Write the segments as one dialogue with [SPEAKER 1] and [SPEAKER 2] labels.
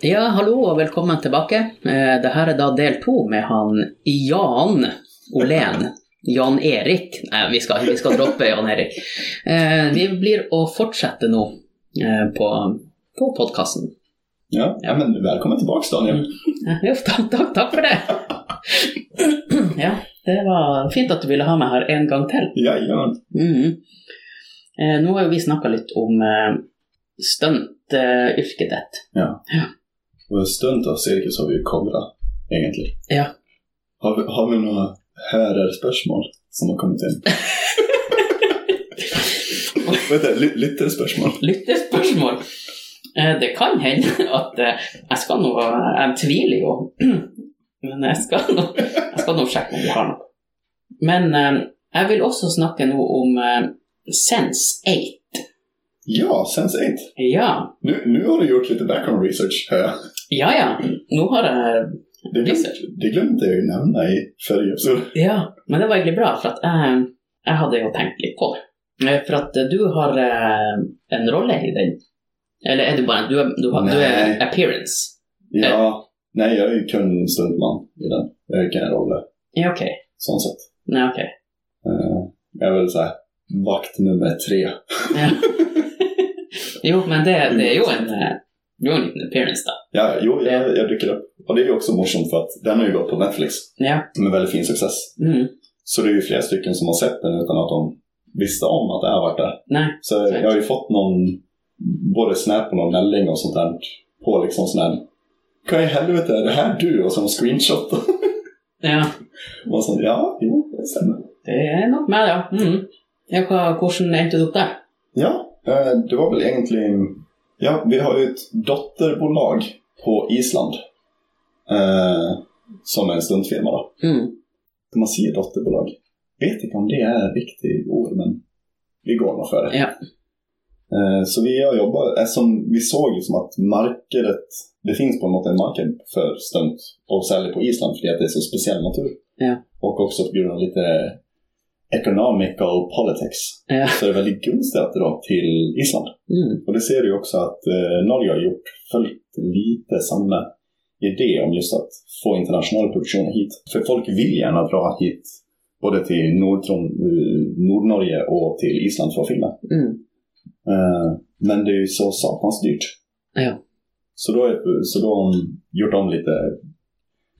[SPEAKER 1] Ja, hallå og velkommen tilbake. Eh, Det her er da del to med han Jan Olen. Jan Erik. Nei, vi skal, vi skal droppe Jan Erik. Eh, Vi blir å fortsette nå eh, på, på podkasten.
[SPEAKER 2] Ja, ja. men välkommen tillbaks Daniel.
[SPEAKER 1] Eh, Jo, takk, takk, takk for det. Ja, det var fint at du ville ha meg her en gang til.
[SPEAKER 2] Jajamän.
[SPEAKER 1] Mhm. Eh, Nå har jo vi snakka litt om eh, stuntyrket ditt.
[SPEAKER 2] Och stunt av cirkus har vi ju kobra egentligen.
[SPEAKER 1] Ja.
[SPEAKER 2] Har vi, har vi några hörarspörsmål som har kommit in? Vänta, ly- lyttarspörsmål?
[SPEAKER 1] lyttespørsmål. Eh, Det kan hende at eh, jeg skal nå Jeg tviler jo, men jeg skal nå, jeg skal nå sjekke om vi har noe. Men eh, jeg vil også snakke nå om eh, Sense8.
[SPEAKER 2] Ja, Sense8.
[SPEAKER 1] Ja,
[SPEAKER 2] Nu, nu har du gjort lite background research, hör jag.
[SPEAKER 1] ja. ja. Nå har jeg
[SPEAKER 2] Det, glöm,
[SPEAKER 1] Research.
[SPEAKER 2] det glömde jag ju nämna i förra episoden.
[SPEAKER 1] Ja, men det var egentlig bra, for at jeg, jeg hadde jo tenkt litt på det. Eh, For at eh, du har eh, en rolle i den. Eller er du bare Du er, du har, du er
[SPEAKER 2] Nei.
[SPEAKER 1] appearance.
[SPEAKER 2] Ja, nej, jag är ju kun stuntman i den. Jag är en roll,
[SPEAKER 1] Ja, ok.
[SPEAKER 2] sånt sett.
[SPEAKER 1] Nei, ok.
[SPEAKER 2] Eh, Jag vill säga vakt nummer tre.
[SPEAKER 1] Ja. jo, men det, det är ju en, eh, det är ju en liten appearance då.
[SPEAKER 2] Ja, jo, jag, jag dyker upp. Och det är ju också morsomt för att den har ju gått på Netflix
[SPEAKER 1] Ja.
[SPEAKER 2] med väldigt fin success.
[SPEAKER 1] Mm.
[SPEAKER 2] Så det är ju flera stycken som har sett den utan att de visste om att det har varit där.
[SPEAKER 1] Nej.
[SPEAKER 2] Så jag har ju fått någon, både Snap och någon melding och sånt där på liksom sån här Vad i helvete är det här du? Och sen screenshot.
[SPEAKER 1] Ja,
[SPEAKER 2] Och sånt, ja, jo, det stämmer.
[SPEAKER 1] det är något med det. ja. Mm. Ja, hva- hvordan endte du opp der?
[SPEAKER 2] Ja, eh, det var väl egentligen... Ja, vi har ju ett dotterbolag på Island. Eh, som är en stuntfirma då.
[SPEAKER 1] Mm.
[SPEAKER 2] man säger dotterbolag. Vet inte om det är riktigt ord, men vi går nog för det.
[SPEAKER 1] Ja.
[SPEAKER 2] Eh, Så vi har jobbat, eh, som vi såg liksom att markedet, det finns på något sätt en marknad för stunt och särskilt på Island för att det är så speciell natur.
[SPEAKER 1] Ja.
[SPEAKER 2] Och också på grund av lite economical politics
[SPEAKER 1] Ja.
[SPEAKER 2] så är det väldigt gunstigt att dra till Island.
[SPEAKER 1] Mm.
[SPEAKER 2] Och det ser du ju också att eh, Norge har gjort följt lite samma idé om just att få internationella produktioner hit. För folk vill gärna dra hit både till Nordtron, eh, Nordnorge och till Island för att filma.
[SPEAKER 1] Mm.
[SPEAKER 2] Eh, men det är ju så satans dyrt.
[SPEAKER 1] Ja.
[SPEAKER 2] Så då, är- så då har de gjort om lite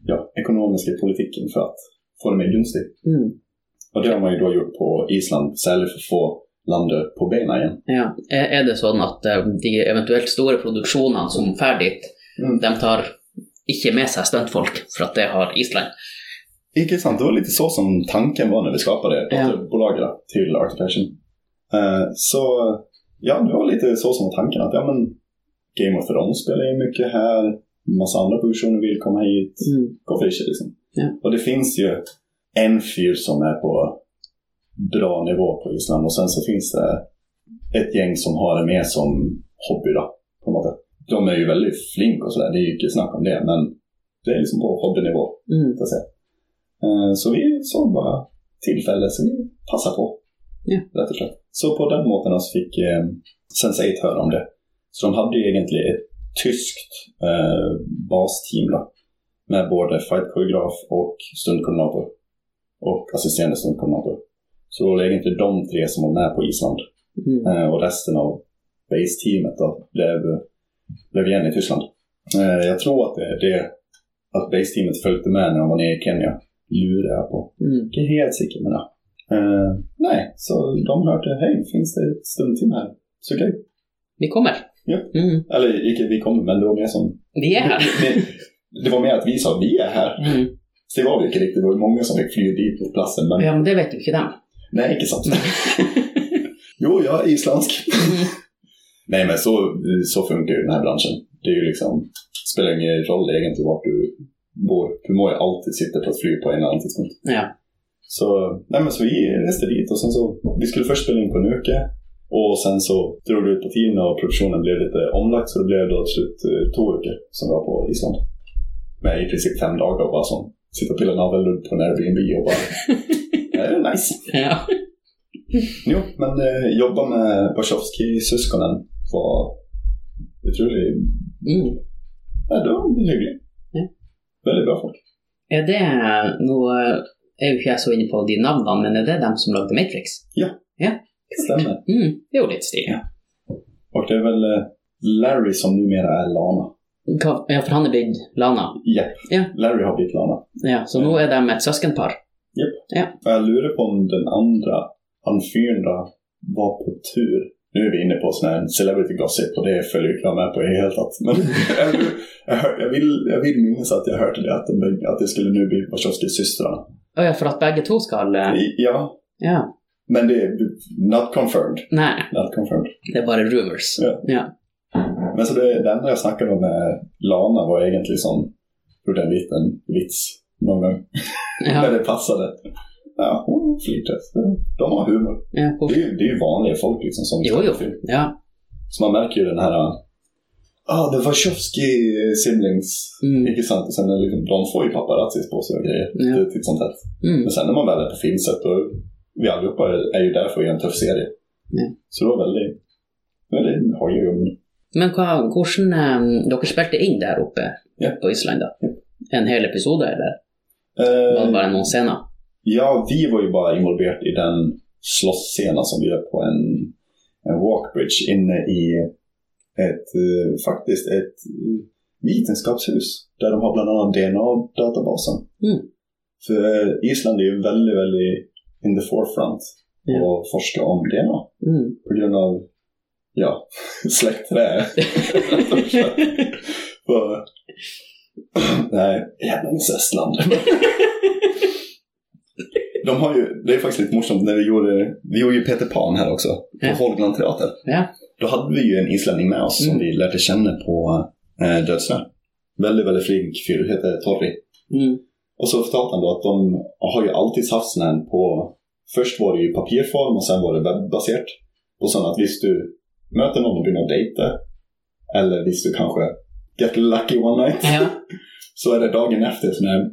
[SPEAKER 2] ja, ekonomiska politiken för att få det mer gunstigt.
[SPEAKER 1] Mm.
[SPEAKER 2] Och det har man ju då gjort på Island, särskilt för att få landet på benen igen.
[SPEAKER 1] Ja. Er, er det sånn at eh, de eventuelt store produksjonene som drar dit,
[SPEAKER 2] Mm.
[SPEAKER 1] de tar ikke med seg stuntfolk, for at det har Island?
[SPEAKER 2] Ikke sant, det var lite så som tanken var när vi skapade
[SPEAKER 1] Ja.
[SPEAKER 2] dotterbolaget då, till Articulation. Eh, så ja, det var lite så som var tanken att ja, men Game of Thrones spelar ju mycket här, massa andra produktioner vill komma hit,
[SPEAKER 1] Mm.
[SPEAKER 2] gå för det, liksom.
[SPEAKER 1] Ja.
[SPEAKER 2] Och det finns ju en fyr som är på bra nivå på Island och sen så finns det ett gäng som har det med som hobby då, på något sätt. De är ju väldigt flink och sådär, det är ju inte snack om det, men det är liksom på hobbynivå.
[SPEAKER 1] Mm.
[SPEAKER 2] Så att säga. Eh, Så vi såg bara tillfälle som vi passade på.
[SPEAKER 1] Ja.
[SPEAKER 2] Rätt och slätt. Så på den måten så fick eh, Sense8 höra om det. Så de hade ju egentligen ett tyskt eh, basteam då, med både fightkoreograf och stuntkoordinator och assisterande stuntkoordinator. Så det var egentligen de tre som var med på Island
[SPEAKER 1] Mm.
[SPEAKER 2] eh, och resten av base-teamet då blev, blev igen i Tyskland. Eh, jag tror att det, det att base-teamet följde med när de var nere i Kenya lurar jag på.
[SPEAKER 1] Mm.
[SPEAKER 2] Det är helt säkert men ja. eh, Nej, så de hörde hej, finns det ett stundtim här? Så grej.
[SPEAKER 1] Vi kommer.
[SPEAKER 2] Ja.
[SPEAKER 1] Mm.
[SPEAKER 2] Eller icke vi kommer, men det var mer som...
[SPEAKER 1] Vi är her.
[SPEAKER 2] Det, det var mer att vi sa vi är här.
[SPEAKER 1] Mm.
[SPEAKER 2] Så det var vi inte riktigt, det var ju många som fick fly dit på platsen, men
[SPEAKER 1] Ja, men det vet jo ikke dem.
[SPEAKER 2] nej, inte sant. jo, jag är isländsk. Nej, men så, så funkar ju den här branschen. Det är ju liksom, spelar ingen roll egentligen vart du bor. Du må ju alltid sitta på ett flyg på en eller annan tidpunkt.
[SPEAKER 1] Ja.
[SPEAKER 2] Så, nej, men så vi reste dit och sen så, vi skulle först spela in på en uke. Och sen så drog det ut på tiden och produktionen blev lite omlagt så det blev då till slut eh, två veckor som vi var på Island. Med i princip fem dagar och bara som sitta och pilla navelludd på en Airbnb och bara, det här är nice.
[SPEAKER 1] Ja.
[SPEAKER 2] Jo, men eh, jobba med Wachowski-syskonen var otroligt
[SPEAKER 1] Mm.
[SPEAKER 2] Nej, det var hyggligt.
[SPEAKER 1] Ja.
[SPEAKER 2] Väldigt bra folk.
[SPEAKER 1] Er det noe Jeg er jo ikke så inne på de navnene, men er det dem som lagde Matrix?
[SPEAKER 2] Ja.
[SPEAKER 1] ja.
[SPEAKER 2] Stämmer.
[SPEAKER 1] Mm, det er jo litt stilig.
[SPEAKER 2] Ja. Och det är väl eh, Larry som numera är Lana.
[SPEAKER 1] Hva- Ja, for han er blitt Lana.
[SPEAKER 2] Ja.
[SPEAKER 1] Ja.
[SPEAKER 2] Larry har blivit Lana.
[SPEAKER 1] Ja, så nå er de et søskenpar.
[SPEAKER 2] Och jag lurar på om den andra, han fyrna, var på tur. Nu är vi inne på sån här celebrity gossip och det följer ju knappt med på helt att. Men jag, jag, hör- jag, vill, jag vill minnas att jag hörde det, att, de, att det skulle nu bli Wachowski-systrarna.
[SPEAKER 1] Å ja, for at begge to skal eh,
[SPEAKER 2] I- Ja,
[SPEAKER 1] Ja.
[SPEAKER 2] men det är not confirmed.
[SPEAKER 1] Nei,
[SPEAKER 2] Not confirmed.
[SPEAKER 1] det er bare rumors.
[SPEAKER 2] Ja. Men så det, det enda jag snackade om med Lana var egentligen som gjorde en liten vits någon gång.
[SPEAKER 1] Ja,
[SPEAKER 2] När det passade. Ja, hon flirtar. De har humor.
[SPEAKER 1] ja,
[SPEAKER 2] Det
[SPEAKER 1] hvor-
[SPEAKER 2] är ju, det är ju vanliga folk liksom som
[SPEAKER 1] Jo, jo. ja.
[SPEAKER 2] Så man märker ju den här... Ah, det var Tjofsky Simlings.
[SPEAKER 1] Mm,
[SPEAKER 2] Inte sant? Och sen är det liksom, de får ju paparazzis på sig och grejer.
[SPEAKER 1] Ja.
[SPEAKER 2] Det är titt som tätt.
[SPEAKER 1] mm.
[SPEAKER 2] Men sen när man väl är på Finset och vi allihopa är- är ju där för att göra en tuff serie.
[SPEAKER 1] Ja.
[SPEAKER 2] Så det var väldigt, väldigt hojig om
[SPEAKER 1] Men hva, hvordan eh, Dere spilte inn der oppe
[SPEAKER 2] Ja.
[SPEAKER 1] på Island, da? En hel episode, eller? Var det bare noen scener?
[SPEAKER 2] Eh, Ja, vi var ju bara involverade i den slottsscenen som vi gör på en, en walkbridge inne i ett, eh, faktiskt ett eh, vetenskapshus där de har bland annat DNA-databasen.
[SPEAKER 1] Mm.
[SPEAKER 2] För eh, Island är ju väldigt, väldigt in the forefront
[SPEAKER 1] Ja.
[SPEAKER 2] och forskar om DNA
[SPEAKER 1] Mm.
[SPEAKER 2] på grund av ja, släktträd. Och- Nej, jävla incestland. De har ju, det är faktiskt lite morsomt, när vi gjorde, vi gjorde ju Peter Pan här också, på
[SPEAKER 1] Ja.
[SPEAKER 2] Holgland teater.
[SPEAKER 1] Ja.
[SPEAKER 2] Då hade vi ju en islänning med oss som
[SPEAKER 1] Mm.
[SPEAKER 2] vi lärde känna på eh, Dödsnö. Väldigt, väldigt flink fyr, heter Torri.
[SPEAKER 1] Mm.
[SPEAKER 2] Och så förtalade han då att de har ju alltid haft sån här på... Först var det ju papperform och sen var det webbaserat. Och sen att visst du möter någon och börjar dejta, eller visst du kanske get lucky one night,
[SPEAKER 1] Ja.
[SPEAKER 2] så är det dagen efter sån här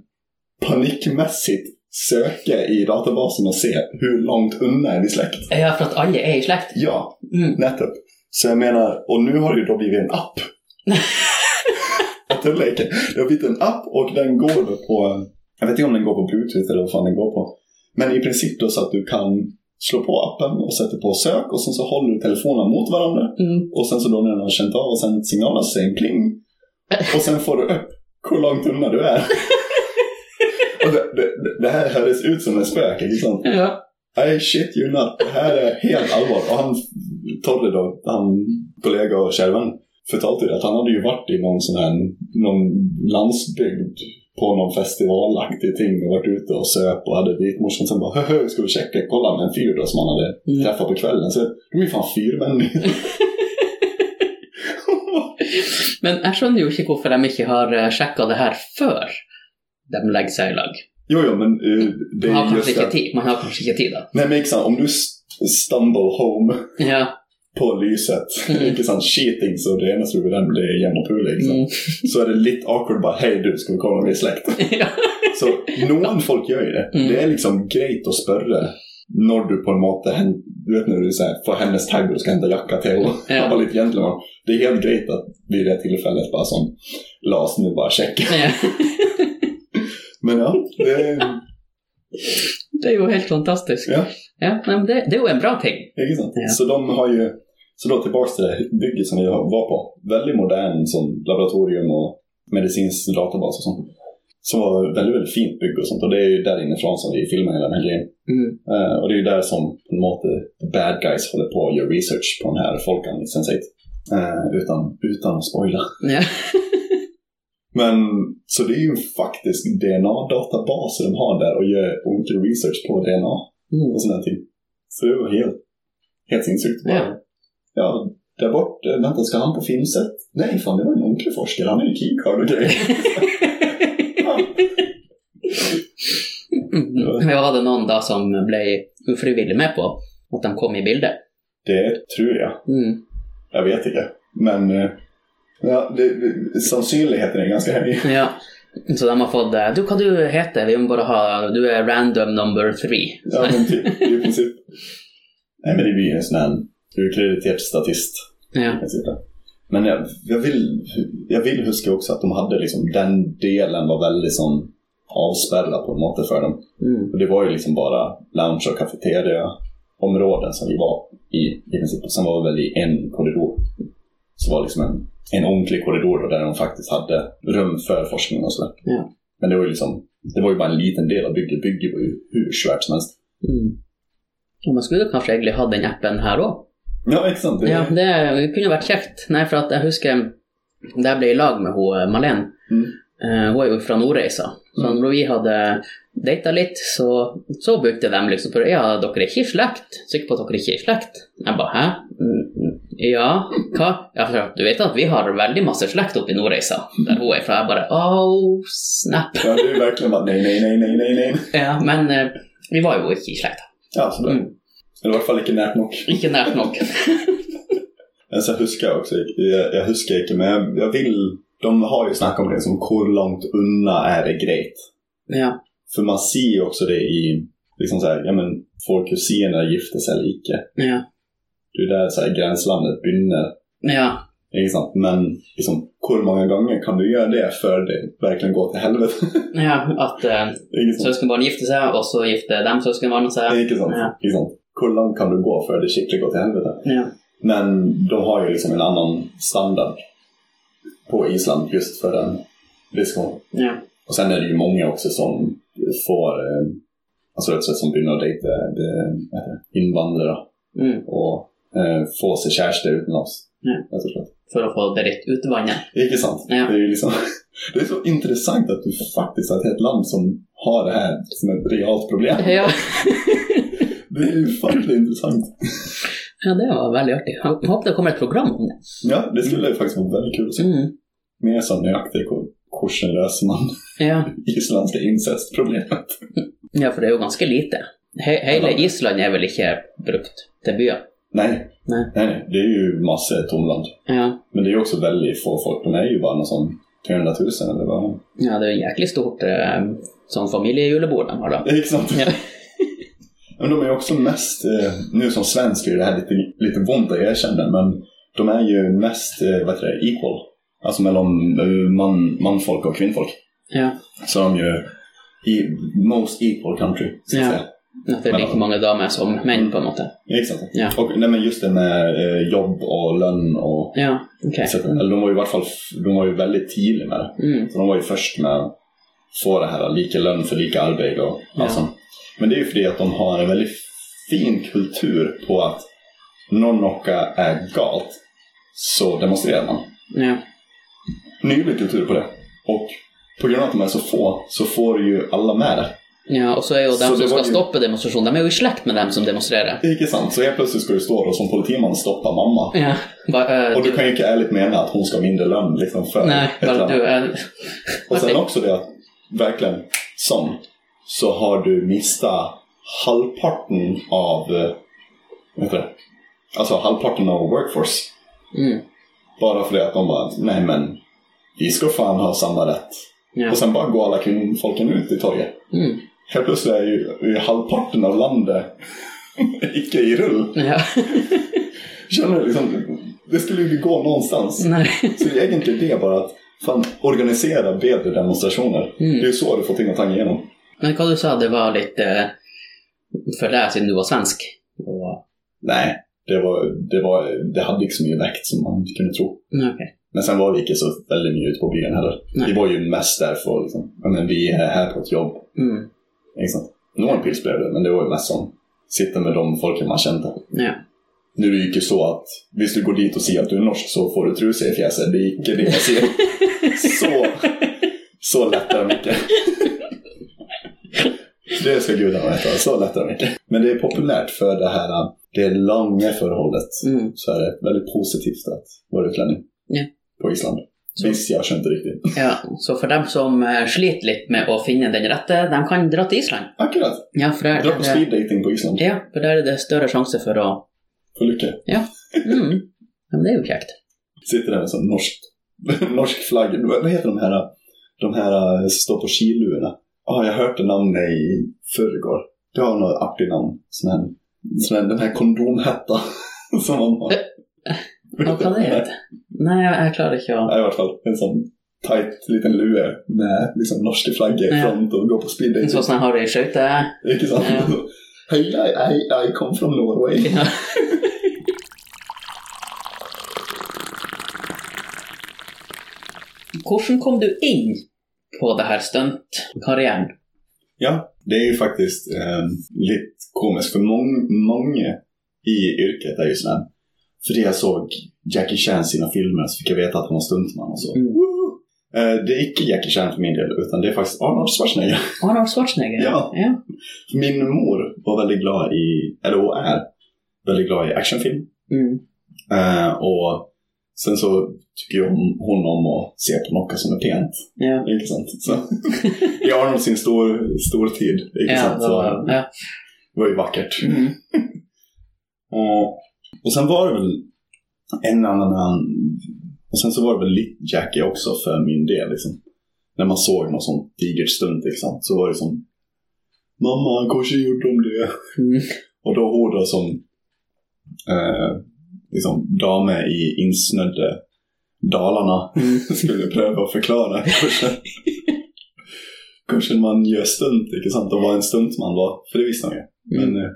[SPEAKER 2] panikmässigt söka i databasen och se hur långt undan är vi släkt.
[SPEAKER 1] ja, for at alle er i slekt.
[SPEAKER 2] Ja,
[SPEAKER 1] Mm.
[SPEAKER 2] nettopp. Så jag menar, och nu har det ju då blivit en app. Att det leker. Det har blivit en app och den går då på, eh, jag vet inte om den går på bluetooth eller vad fan den går på. Men i princip då så att du kan slå på appen och sätta på sök och sen så håller du telefonerna mot varandra.
[SPEAKER 1] Mm.
[SPEAKER 2] Och sen så då när den har känt av och sen signalen så säger en pling. Och sen får du upp hur långt undan du är. och det, det, det här hördes ut som en spöke liksom.
[SPEAKER 1] Ja.
[SPEAKER 2] Nej, shit you not. Det här är helt allvar. Och han, Torre då, han kollega och kär vän, förtalade ju det att han hade ju varit i någon sån här, någon landsbygd på någon festivalaktig ting och varit ute och söp och hade dit morsan sen bara höhö, ska vi checka, kolla med en fyr då som han hade
[SPEAKER 1] Mm.
[SPEAKER 2] träffat på kvällen. Så de är ju fan fyrmän.
[SPEAKER 1] Men jeg skjønner jo ikke hvorfor de ikke har sjekka det her før de legger seg i lag.
[SPEAKER 2] jo, jo, men eh, det
[SPEAKER 1] Man
[SPEAKER 2] är
[SPEAKER 1] har
[SPEAKER 2] ju
[SPEAKER 1] kanskje
[SPEAKER 2] just
[SPEAKER 1] ikke
[SPEAKER 2] det.
[SPEAKER 1] tid, man har kanskje ikke tid da.
[SPEAKER 2] Nej, men exakt, om du st- stumble home
[SPEAKER 1] Ja.
[SPEAKER 2] på lyset,
[SPEAKER 1] Mm.
[SPEAKER 2] inte sant, cheating, så det ena skulle den bli jämn och pul, liksom.
[SPEAKER 1] Mm.
[SPEAKER 2] så är det lite awkward bara hej du, ska vi kolla om vi är släkt?
[SPEAKER 1] ja.
[SPEAKER 2] Så någon folk gör ju det.
[SPEAKER 1] Mm.
[SPEAKER 2] Det är liksom grejt att spörre när du på en måte, hen- du vet när du säger får hennes tagg och ska hämta jacka till och
[SPEAKER 1] Ja.
[SPEAKER 2] vara lite gentleman. Det är helt grejt att vid det tillfället bara som Lars nu bara checka.
[SPEAKER 1] ja.
[SPEAKER 2] Men ja, det är
[SPEAKER 1] Det er jo helt fantastisk.
[SPEAKER 2] Ja.
[SPEAKER 1] Ja, nei, men det, det er jo en bra ting.
[SPEAKER 2] det är sant.
[SPEAKER 1] Ja.
[SPEAKER 2] Så de har ju, så då tillbaka till det bygget som vi var på. Väldigt modern som laboratorium och medicinsk databas och sånt. Som var väldigt, väldigt fint bygge och sånt. Och det är ju där inifrån som vi filmar hela den här grejen.
[SPEAKER 1] Mm.
[SPEAKER 2] Eh, och det är ju där som på en måte bad guys håller på och gör research på den här folkan i Sense8. Eh, utan, utan att spoila.
[SPEAKER 1] Ja.
[SPEAKER 2] Men så det är ju faktiskt DNA-databaser de har där och gör olika research på DNA
[SPEAKER 1] Mm.
[SPEAKER 2] och sådana ting. Så det var helt, helt sinnessjukt. bara.
[SPEAKER 1] Ja.
[SPEAKER 2] ja, där bort, eh, vänta, ska han på Finset? Nej, fan det var en onklig forskare, han är ju keycard och grejer. Ja.
[SPEAKER 1] Mm. Ja, var det noen da som ble ufrivillig med på at de kom i bildet?
[SPEAKER 2] Det tror jag.
[SPEAKER 1] Mm.
[SPEAKER 2] Jag vet inte. Men eh, ja, det, det, sannsynligheten är ganska hög.
[SPEAKER 1] Ja. Så de har fått eh, Du, hva du heter Vi må bare ha Du er random number three.
[SPEAKER 2] Ja, men typ, i princip. Nej, men det blir ju en sån här... Du är krediterad statist.
[SPEAKER 1] Ja.
[SPEAKER 2] i princip. Men jag, jag, vill, jag vill huska också att de hade liksom, den delen var väldigt sån avspärrad på något sätt för dem.
[SPEAKER 1] Mm.
[SPEAKER 2] Och det var ju liksom bara lounge och kafeteriaområden som vi var i. i princip. Och sen var vi väl i en korridor. Så var det liksom en, en ordentlig korridor då, där de faktiskt hade rum för forskning och sådär.
[SPEAKER 1] Ja.
[SPEAKER 2] Men det var ju liksom, det var ju bara en liten del av bygget. Bygget var ju hur svärt som helst.
[SPEAKER 1] Mm. Och man skulle kanskje egentlig hatt den appen her òg.
[SPEAKER 2] Ja, exakt. Det,
[SPEAKER 1] Ja, det
[SPEAKER 2] Eh,
[SPEAKER 1] kunne vært kjekt. Nei, for at jeg husker da jeg ble i lag med hun, Malene.
[SPEAKER 2] Mm.
[SPEAKER 1] eh, hun er jo fra Nordreisa. Så
[SPEAKER 2] Mm.
[SPEAKER 1] når vi hadde data litt, så, så brukte de liksom for Ja, dere er ikke i slekt? Sikker på at dere ikke er i slekt? Jeg bare hæ? Mm, mm, Ja, hva? Ja, for du vet at vi har veldig masse slekt oppe i Nordreisa, der hun er fra. Jeg bare oh, snap.
[SPEAKER 2] ja, det är ju verkligen bara nej, nej, nej, nej, nej, nej.
[SPEAKER 1] Ja, men eh, vi var jo ikke i slekt.
[SPEAKER 2] Ja, sådär.
[SPEAKER 1] Mm.
[SPEAKER 2] Eller i alla fall inte nära nog.
[SPEAKER 1] Ikke nært nok.
[SPEAKER 2] Men sen huskar jag också, jag, jag huskar inte, men jag, jag vill, de har ju snackat om det, som hur långt unna är det grejt?
[SPEAKER 1] Ja.
[SPEAKER 2] För man ser ju också det i, liksom så här, ja men, får kusiner gifta sig eller icke?
[SPEAKER 1] Ja.
[SPEAKER 2] Det är där så här, gränslandet begynner.
[SPEAKER 1] ja.
[SPEAKER 2] Inte sant? Men liksom, hur många gånger kan du göra det för det verkligen går till helvete?
[SPEAKER 1] Ja, at eh,
[SPEAKER 2] Inte sant?
[SPEAKER 1] søskenbarn gifter seg, och så gifter de søskenbarna seg.
[SPEAKER 2] Inte sant?
[SPEAKER 1] Ja.
[SPEAKER 2] Inte sant? Hur långt kan du gå för det skickligt går till helvete?
[SPEAKER 1] Ja.
[SPEAKER 2] Men de har ju liksom en annan standard på Island just för den riskon.
[SPEAKER 1] Ja.
[SPEAKER 2] Och sen är det ju många också som får, eh, alltså rätt sätt som börjar dejta eh, vad heter det, invandrare
[SPEAKER 1] Mm.
[SPEAKER 2] och eh, få sig kärste utomlands.
[SPEAKER 1] Ja.
[SPEAKER 2] Rätt och slett.
[SPEAKER 1] For å få det litt ut vannet.
[SPEAKER 2] Icke sant?
[SPEAKER 1] Ja.
[SPEAKER 2] Det är ju liksom, det är så intressant att du faktiskt har ett helt land som har det här som ett realt problem.
[SPEAKER 1] Ja.
[SPEAKER 2] Det är ju faktiskt intressant.
[SPEAKER 1] ja, det var veldig artig. Jeg håper det kommer et program om det.
[SPEAKER 2] Ja, det skulle ju faktiskt vara väldigt kul att se.
[SPEAKER 1] Mm.
[SPEAKER 2] Mer så nöjaktig kursen löser man
[SPEAKER 1] Ja.
[SPEAKER 2] isländska incestproblemet.
[SPEAKER 1] ja, for det er jo ganske lite. He hele
[SPEAKER 2] Ja.
[SPEAKER 1] Island er vel ikke brukt till byer.
[SPEAKER 2] Nej.
[SPEAKER 1] Nej.
[SPEAKER 2] nej, nej. Det är ju massor tomland.
[SPEAKER 1] Ja.
[SPEAKER 2] Men det är ju också väldigt få folk. De är ju bara någon sån 300 000 eller vad.
[SPEAKER 1] ja, det er jo jæklig stort eh, sånn familiejulebord de har da.
[SPEAKER 2] Exakt.
[SPEAKER 1] Ja.
[SPEAKER 2] liksom- Men de är ju också mest, eh, nu som svensk är det här lite, lite vont att erkänna, men de är ju mest, eh, vad heter det, equal. Alltså mellan eh, man, manfolk och kvinnfolk.
[SPEAKER 1] Ja.
[SPEAKER 2] Så de är ju i most equal country, så att
[SPEAKER 1] Ja.
[SPEAKER 2] säga.
[SPEAKER 1] At det er like mange damer som menn, på en måte.
[SPEAKER 2] Ja, Exakt.
[SPEAKER 1] Ja.
[SPEAKER 2] Och nej, men just det med eh, jobb och lön och
[SPEAKER 1] Ja, ok.
[SPEAKER 2] Så att, eller de var ju i vart fall de var ju väldigt tidiga med det.
[SPEAKER 1] Mm.
[SPEAKER 2] Så de var ju först med att få det här lika lön för lika arbete och
[SPEAKER 1] Ja.
[SPEAKER 2] allt sånt. Men det är ju för det att de har en väldigt fin kultur på att någon åka är galt så demonstrerar man.
[SPEAKER 1] Ja.
[SPEAKER 2] Nylig kultur på det. Och på grund av att de är så få så får ju alla med det.
[SPEAKER 1] ja, og så er jo
[SPEAKER 2] Så
[SPEAKER 1] dem
[SPEAKER 2] det
[SPEAKER 1] som
[SPEAKER 2] var
[SPEAKER 1] skal
[SPEAKER 2] ju-
[SPEAKER 1] stoppe demonstrasjonen, de er jo i slekt med dem som demonstrerer.
[SPEAKER 2] Det är inte sant. Så helt plötsligt ska du stå då som politiman stoppa mamma.
[SPEAKER 1] Ja. Ba, eh,
[SPEAKER 2] Och du kan ju inte ärligt mena att hon ska ha mindre lön liksom för
[SPEAKER 1] Nej,
[SPEAKER 2] ett
[SPEAKER 1] bara
[SPEAKER 2] land.
[SPEAKER 1] du är...
[SPEAKER 2] Och sen också det att verkligen som så har du missat halvparten av eh, vad heter det? Alltså halvparten av workforce.
[SPEAKER 1] Mm,
[SPEAKER 2] Bara för det att de bara, nej men vi ska fan ha samma rätt.
[SPEAKER 1] ja.
[SPEAKER 2] Och sen bara går alla kvinnor- folken ut i torget.
[SPEAKER 1] Mm,
[SPEAKER 2] Helt plötsligt är ju är halvparten av landet icke i rull.
[SPEAKER 1] ja.
[SPEAKER 2] Känner du liksom, det skulle ju gå någonstans.
[SPEAKER 1] Nej.
[SPEAKER 2] Så det är egentligen det bara att fan organisera bättre demonstrationer. Det är
[SPEAKER 1] Mm.
[SPEAKER 2] ju så du får ting att tänka igenom.
[SPEAKER 1] Men vad du sa, det var lite eh, för det här sedan du var svensk. Och,
[SPEAKER 2] Nej, det, var, det, var, det hade inte så mycket väkt som man kunde tro.
[SPEAKER 1] nej, Mm, okej.
[SPEAKER 2] Men sen var vi inte så väldigt mycket ute på byn heller.
[SPEAKER 1] Nej.
[SPEAKER 2] Vi var ju mest där för att liksom, ja, men vi är här på ett jobb.
[SPEAKER 1] Mm,
[SPEAKER 2] Liksom. Någon pils blev det, men det var ju mest som sitta med de folken man kände.
[SPEAKER 1] ja.
[SPEAKER 2] Nu är det ju inte så att visst du går dit och ser att du är norsk så får du trusor i fjäset. Det gick det jag ser. så, så lätt är det mycket. Det ska gudarna veta, så lätt är det mycket. Men det är populärt för det här, det långa förhållet
[SPEAKER 1] Mm.
[SPEAKER 2] så är det väldigt positivt att vara utlänning
[SPEAKER 1] Ja.
[SPEAKER 2] på Island.
[SPEAKER 1] Så.
[SPEAKER 2] Visst, jag känner inte riktigt.
[SPEAKER 1] ja. Så för dem som eh, sliter lite med att finna den rätta, de kan dra till Island.
[SPEAKER 2] Akkurat!
[SPEAKER 1] Ja, för där,
[SPEAKER 2] Dra på
[SPEAKER 1] där,
[SPEAKER 2] speed dating på Island.
[SPEAKER 1] ja, för där är det större chanser för att...
[SPEAKER 2] Få lycka.
[SPEAKER 1] Mm. Ja, men det är ju käckt.
[SPEAKER 2] Sitter där med en sån norsk, norsk flagg. Vad heter de här, de här eh, står på skilurna? Ja, jag hörde namnet i förrgår. Det har något artigt namn. Sån här, sån här, den här kondomhätta som man har.
[SPEAKER 1] Ja, hva det heter? Nei, jeg jeg klarer ikke å
[SPEAKER 2] Ja, I hvert fall en sånn tight liten lue med liksom norske flagget i
[SPEAKER 1] Ja.
[SPEAKER 2] front og gå på speeddate.
[SPEAKER 1] Sånn som jeg har det i skøyter.
[SPEAKER 2] Ikke sant?
[SPEAKER 1] Ja.
[SPEAKER 2] Hei, I, I, I come from Norway.
[SPEAKER 1] Ja. Hvordan kom du inn på det her stuntkarrieren?
[SPEAKER 2] Ja, det är ju faktiskt eh, lite komiskt för mång, många i yrket är ju sådär. För det jag såg Jackie Chan sina filmer så fick jag veta att han var stuntman och så.
[SPEAKER 1] Mm.
[SPEAKER 2] Woo! Eh, det är icke Jackie Chan för min del utan det är faktiskt Arnold Schwarzenegger.
[SPEAKER 1] Arnold Schwarzenegger?
[SPEAKER 2] Ja.
[SPEAKER 1] ja.
[SPEAKER 2] Min mor var väldigt glad i, eller hon är, väldigt glad i actionfilm.
[SPEAKER 1] Mm.
[SPEAKER 2] Eh, och sen så tycker ju hon, hon om att se på något som är pent.
[SPEAKER 1] Ja.
[SPEAKER 2] Inte sant? Så, I Arnold sin stor, stor tid. Inte
[SPEAKER 1] Ja,
[SPEAKER 2] sant?
[SPEAKER 1] det
[SPEAKER 2] Så,
[SPEAKER 1] var, ja.
[SPEAKER 2] det var ju vackert.
[SPEAKER 1] Mm.
[SPEAKER 2] Och, och sen var det väl en annan... han- Och sen så var det väl lite Jackie också för min del. Liksom. När man såg någon sån digert stunt liksom, så var det som Mamma, han kanske gjorde om det.
[SPEAKER 1] Mm.
[SPEAKER 2] Och då hon då som eh, liksom, damer i insnödde Dalarna
[SPEAKER 1] Mm.
[SPEAKER 2] skulle pröva att förklara kursen. kursen man gör stunt, inte sant? Och vad en stuntman var, för det visste man ju. Men eh,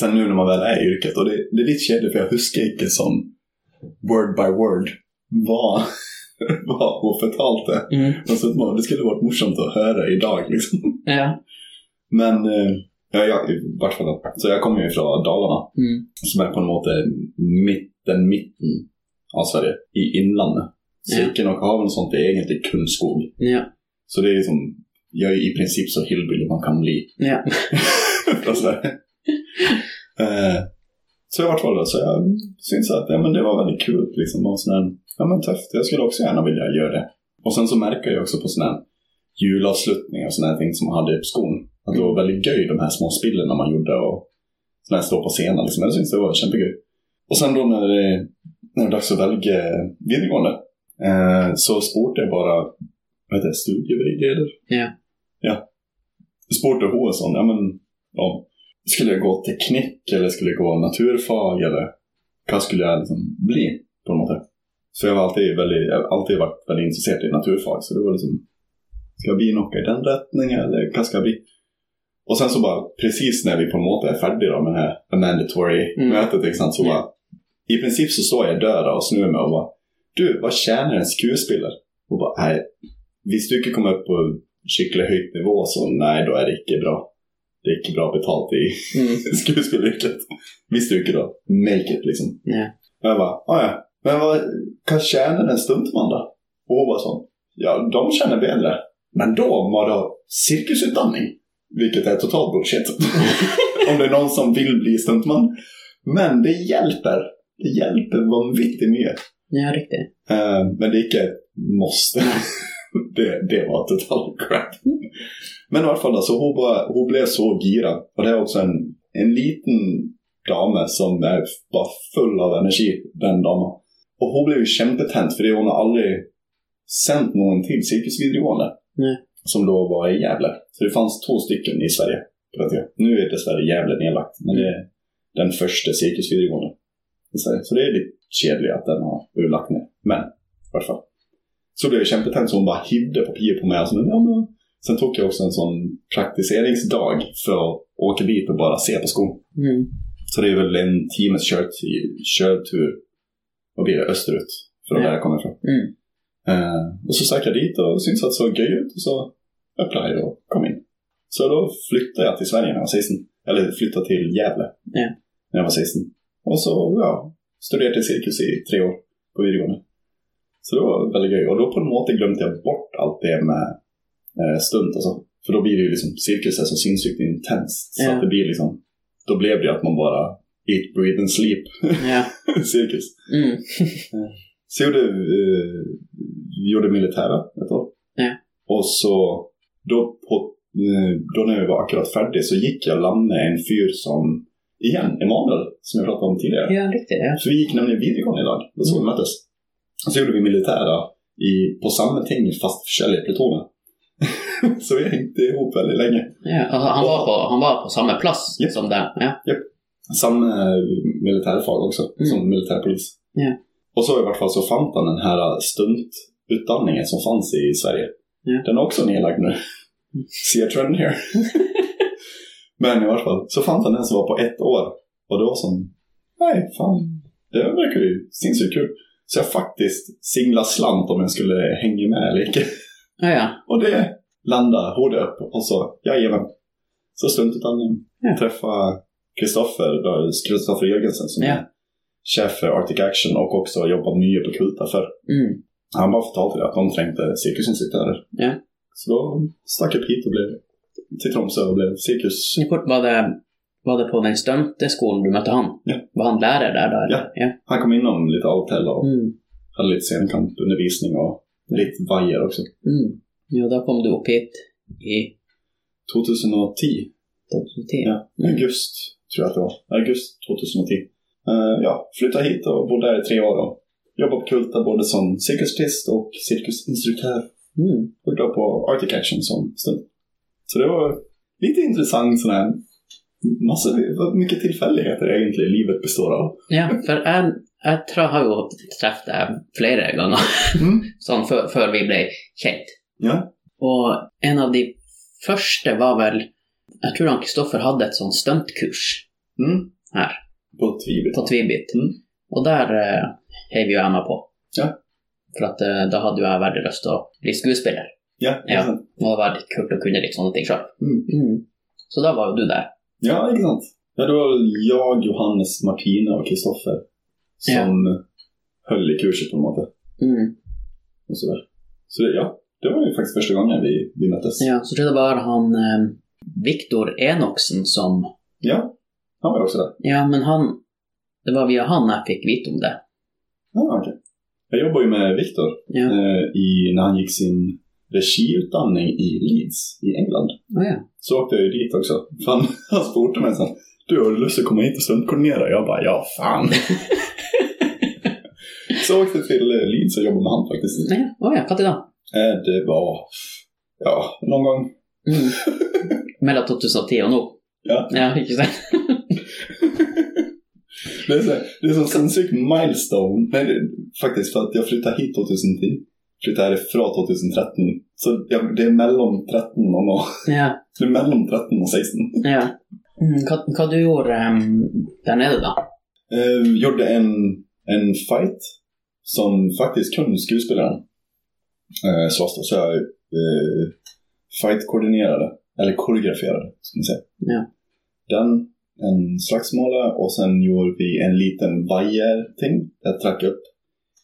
[SPEAKER 2] sen nu när man väl är i yrket, och det, det är lite kedligt för jag huskar inte som word by word vad, vad hon förtalte.
[SPEAKER 1] Mm.
[SPEAKER 2] Men så att man- Det skulle varit morsomt att höra idag liksom.
[SPEAKER 1] Ja.
[SPEAKER 2] Men eh, ja, jag, i vart fall, så jag kommer ju från Dalarna,
[SPEAKER 1] Mm.
[SPEAKER 2] som är på en måte mitten, mitten av Sverige, i inlandet. Cirkeln och haven och sånt är egentligen kun skog.
[SPEAKER 1] Ja.
[SPEAKER 2] Så det är liksom, jag är i princip så hillbilly man kan bli.
[SPEAKER 1] Ja.
[SPEAKER 2] Och så, där. Eh, så jag vart valde, så jag syns att ja, men det var väldigt kul. Liksom, och sån här, ja men tufft, jag skulle också gärna vilja göra det. Och sen så märker jag också på sådana här julavslutningar och sådana här ting som man hade på skolan. Att det var väldigt göj de här små spillen man gjorde och sådana här stå på scenen. Liksom. Jag syns det var kämpegöj. Och sen då när det, när det var dags att välja videregående eh, så spurte jag bara vad heter det, studievägledare.
[SPEAKER 1] Ja.
[SPEAKER 2] Ja. Sporter Håsson, ja men, ja. Skulle jag gå teknik eller skulle jag gå naturfag eller vad skulle jag liksom bli på något sätt? Så jag har alltid, väldigt, jag har alltid varit väldigt intresserad i naturfag, så det var liksom, ska jag bli något i den riktningen eller vad ska jag bli? Och sen så bara, precis när vi på något sätt är färdiga då med det här mandatory-mötet, mm. så
[SPEAKER 1] Ja.
[SPEAKER 2] bara, i princip så står jag där då och snur mig och bara, du, vad tjänar en skuespelare? Och bara, nej, visst du inte kommer upp på skicklig högt nivå så nej, då är det inte bra. Det är inte bra betalt i
[SPEAKER 1] Mm.
[SPEAKER 2] skuespelyrket. Visst du inte då, make it liksom.
[SPEAKER 1] Ja.
[SPEAKER 2] Och jag bara, "Ah, ja, men vad, vad tjänar en stuntman då? Och hon var sån, ja, de tjänar bättre. Men då var det cirkusutdanning. Vilket är totalt bullshit. Om det är någon som vill bli stuntman. Men det hjälper. Det hjälper vanvittigt mycket.
[SPEAKER 1] ja, riktig.
[SPEAKER 2] Eh, men det är icke ett måste. det, det var total crap. Men i alla fall, alltså, hon, bara, hon blev så girad. Och det är också en, en liten dame som är bara full av energi, den damen. Och hon blev ju kämpetänt för det hon har aldrig sänt någon till cirkusvideregående.
[SPEAKER 1] Nej.
[SPEAKER 2] Som då var i Gävle. Så det fanns två stycken i Sverige på den tiden. Nu är dessvärre Gävle nedlagt, men det är den första cirkusvideregående i Sverige. Så det är lite kedligt att den har blivit lagt ner. Men i alla fall. Så blev jag kämpetänd så hon bara hivde papper på mig. Och så, ja, men. Sen tog jag också en sån praktiseringsdag för att åka dit och bara se på skon.
[SPEAKER 1] Mm.
[SPEAKER 2] Så det är väl en timmes körti- körtur, vad blir det, österut. Från
[SPEAKER 1] Ja.
[SPEAKER 2] där jag kommer ifrån.
[SPEAKER 1] Mm.
[SPEAKER 2] Eh, och så sökte jag dit och syntes att det såg göj ut och så applyade jag och kom in. Så då flyttade jag till Sverige när jag var 16. Eller flyttade till Gävle
[SPEAKER 1] Ja.
[SPEAKER 2] när jag var 16. Och så ja, studerade jag cirkus i tre år på videregående. Så det var väldigt göj. Och då på något sätt glömde jag bort allt det med eh, stunt och så. För då blir det ju liksom, cirkus är så sinnessjukt intenst. Så
[SPEAKER 1] Ja.
[SPEAKER 2] att det blir liksom, då blev det ju att man bara eat, breathe and sleep
[SPEAKER 1] Ja.
[SPEAKER 2] cirkus.
[SPEAKER 1] Mm.
[SPEAKER 2] Så jag gjorde, eh, gjorde militära ett år.
[SPEAKER 1] Ja.
[SPEAKER 2] Och så då, på, eh, då när jag var akkurat färdig så gick jag land med en fyr som, igen, Emanuel, som jag pratade om tidigare.
[SPEAKER 1] Ja, riktig. Ja.
[SPEAKER 2] Så vi gick nämligen videregående idag, det var så vi
[SPEAKER 1] Mm.
[SPEAKER 2] möttes. Och så gjorde vi militära i, på samma ting fast försäljare plutoner. så vi hängde ihop väldigt länge.
[SPEAKER 1] Ja. Alltså, han, var på, han var på samme plass
[SPEAKER 2] Ja.
[SPEAKER 1] som deg. Ja.
[SPEAKER 2] Samma militärfag också,
[SPEAKER 1] Mm.
[SPEAKER 2] som militärpolis.
[SPEAKER 1] Ja.
[SPEAKER 2] Och så i vart fall så fann han den här stuntutdanningen som fanns i Sverige.
[SPEAKER 1] Ja. Mm.
[SPEAKER 2] Den är också nedlagd nu. Ser jag trend here. Men i vart fall så fann han den som var på ett år. Och det var som, nej fan, det verkar ju sinnssykt kul. Så jag faktiskt singla slant om jag skulle hänga med eller icke.
[SPEAKER 1] Ja, ja.
[SPEAKER 2] Och det landade hård upp och så, jajamän. Så stuntutbildning.
[SPEAKER 1] Ja.
[SPEAKER 2] Träffa Kristoffer, då, Kristoffer Jörgensen som
[SPEAKER 1] Ja.
[SPEAKER 2] är chef för Arctic Action och också har jobbat mycket på Kulta för
[SPEAKER 1] Mm.
[SPEAKER 2] Han bara förtalade att de trängte cirkusinstruktörer.
[SPEAKER 1] Ja.
[SPEAKER 2] Så då stack jag upp hit och blev till Tromsö och blev cirkus.
[SPEAKER 1] Så kort var det, var det på den stunte skolan du mötte han?
[SPEAKER 2] Ja.
[SPEAKER 1] Var han lärare där då? eller? ja.
[SPEAKER 2] Han kom inom lite avtälla och
[SPEAKER 1] Mm.
[SPEAKER 2] hade lite scenkampundervisning och lite vajer också.
[SPEAKER 1] Mm. Ja, då kom du upp hit i
[SPEAKER 2] 2010
[SPEAKER 1] 2010.
[SPEAKER 2] Ja,
[SPEAKER 1] Mm.
[SPEAKER 2] august tror jag att det var. August 2010. Eh, ja, flyttade hit och bodde där i tre år. och Jobbade på Kulta både som cirkusartist och cirkusinstruktör.
[SPEAKER 1] Mm.
[SPEAKER 2] Och då på Arctic Action som stund. Så det var lite intressant sån här. Massa, vad mycket tillfälligheter egentligen livet består av.
[SPEAKER 1] Ja, för jag, jag tror jag har ju träffat dig flera gånger
[SPEAKER 2] Mm.
[SPEAKER 1] sån för, för vi blev känt.
[SPEAKER 2] Ja.
[SPEAKER 1] Och en av de första var väl, jag tror han Kristoffer hade ett sånt stuntkurs
[SPEAKER 2] Mm.
[SPEAKER 1] Här.
[SPEAKER 2] På Tvibit.
[SPEAKER 1] på Tvibit.
[SPEAKER 2] Mm.
[SPEAKER 1] Och där eh, hejvade ju jag mig på.
[SPEAKER 2] Ja.
[SPEAKER 1] För att eh, då hade ju jag väldigt lust att bli skuespelare.
[SPEAKER 2] Ja,
[SPEAKER 1] Ja.
[SPEAKER 2] ja.
[SPEAKER 1] Och det var väldigt kul att kunna liksom någonting själv.
[SPEAKER 2] Mm.
[SPEAKER 1] Mm. Så där var ju du där.
[SPEAKER 2] ja, inte sant. Ja, det var jag, Johannes, Martina och Kristoffer som höll i kurset på något sätt.
[SPEAKER 1] Mm.
[SPEAKER 2] och sådär. Så det, ja, det var ju faktiskt första gången vi, vi möttes.
[SPEAKER 1] Ja, så tror jag det var han eh, Viktor Enoksen som...
[SPEAKER 2] Ja, han var ju också där.
[SPEAKER 1] Ja, men han... Det var via han jag fick veta om det.
[SPEAKER 2] Ja, okej. Jag jobbade ju med Viktor
[SPEAKER 1] Ja.
[SPEAKER 2] eh, i, när han gick sin regiutbildning i Leeds i England.
[SPEAKER 1] Oh, ja.
[SPEAKER 2] Så åkte jag ju dit också. Fan, han spurtade mig sen. Du, har du lust att komma hit och stuntkoordinera? Jag bara, ja fan. så åkte jag till eh, Leeds och jobbade med han faktiskt.
[SPEAKER 1] Nej, oh, ja, katt då?
[SPEAKER 2] Eh, det var, ja, någon gång.
[SPEAKER 1] Mm. Mellan 2010 och nu.
[SPEAKER 2] Ja.
[SPEAKER 1] Ja, ikke sant?
[SPEAKER 2] Det är, så, det är så sinnssykt milestone. Nej, det, faktiskt, för att jag flyttade hit 2010. Flyttade härifrån 2013. Så jag, det är mellan 13 och nå.
[SPEAKER 1] Ja,
[SPEAKER 2] Det är mellan 13 och 16.
[SPEAKER 1] ja. Mm, hva, hva du gjorde um, der nede, da?
[SPEAKER 2] Eh, gjorde en, en fight som faktiskt kunde skuespelaren. Eh, slåss då. Så jag eh, fight-koordinerade, eller koreograferade, ska man säga.
[SPEAKER 1] Ja.
[SPEAKER 2] Den, en slagsmåla och sen gjorde vi en liten vajer-ting. Jag track upp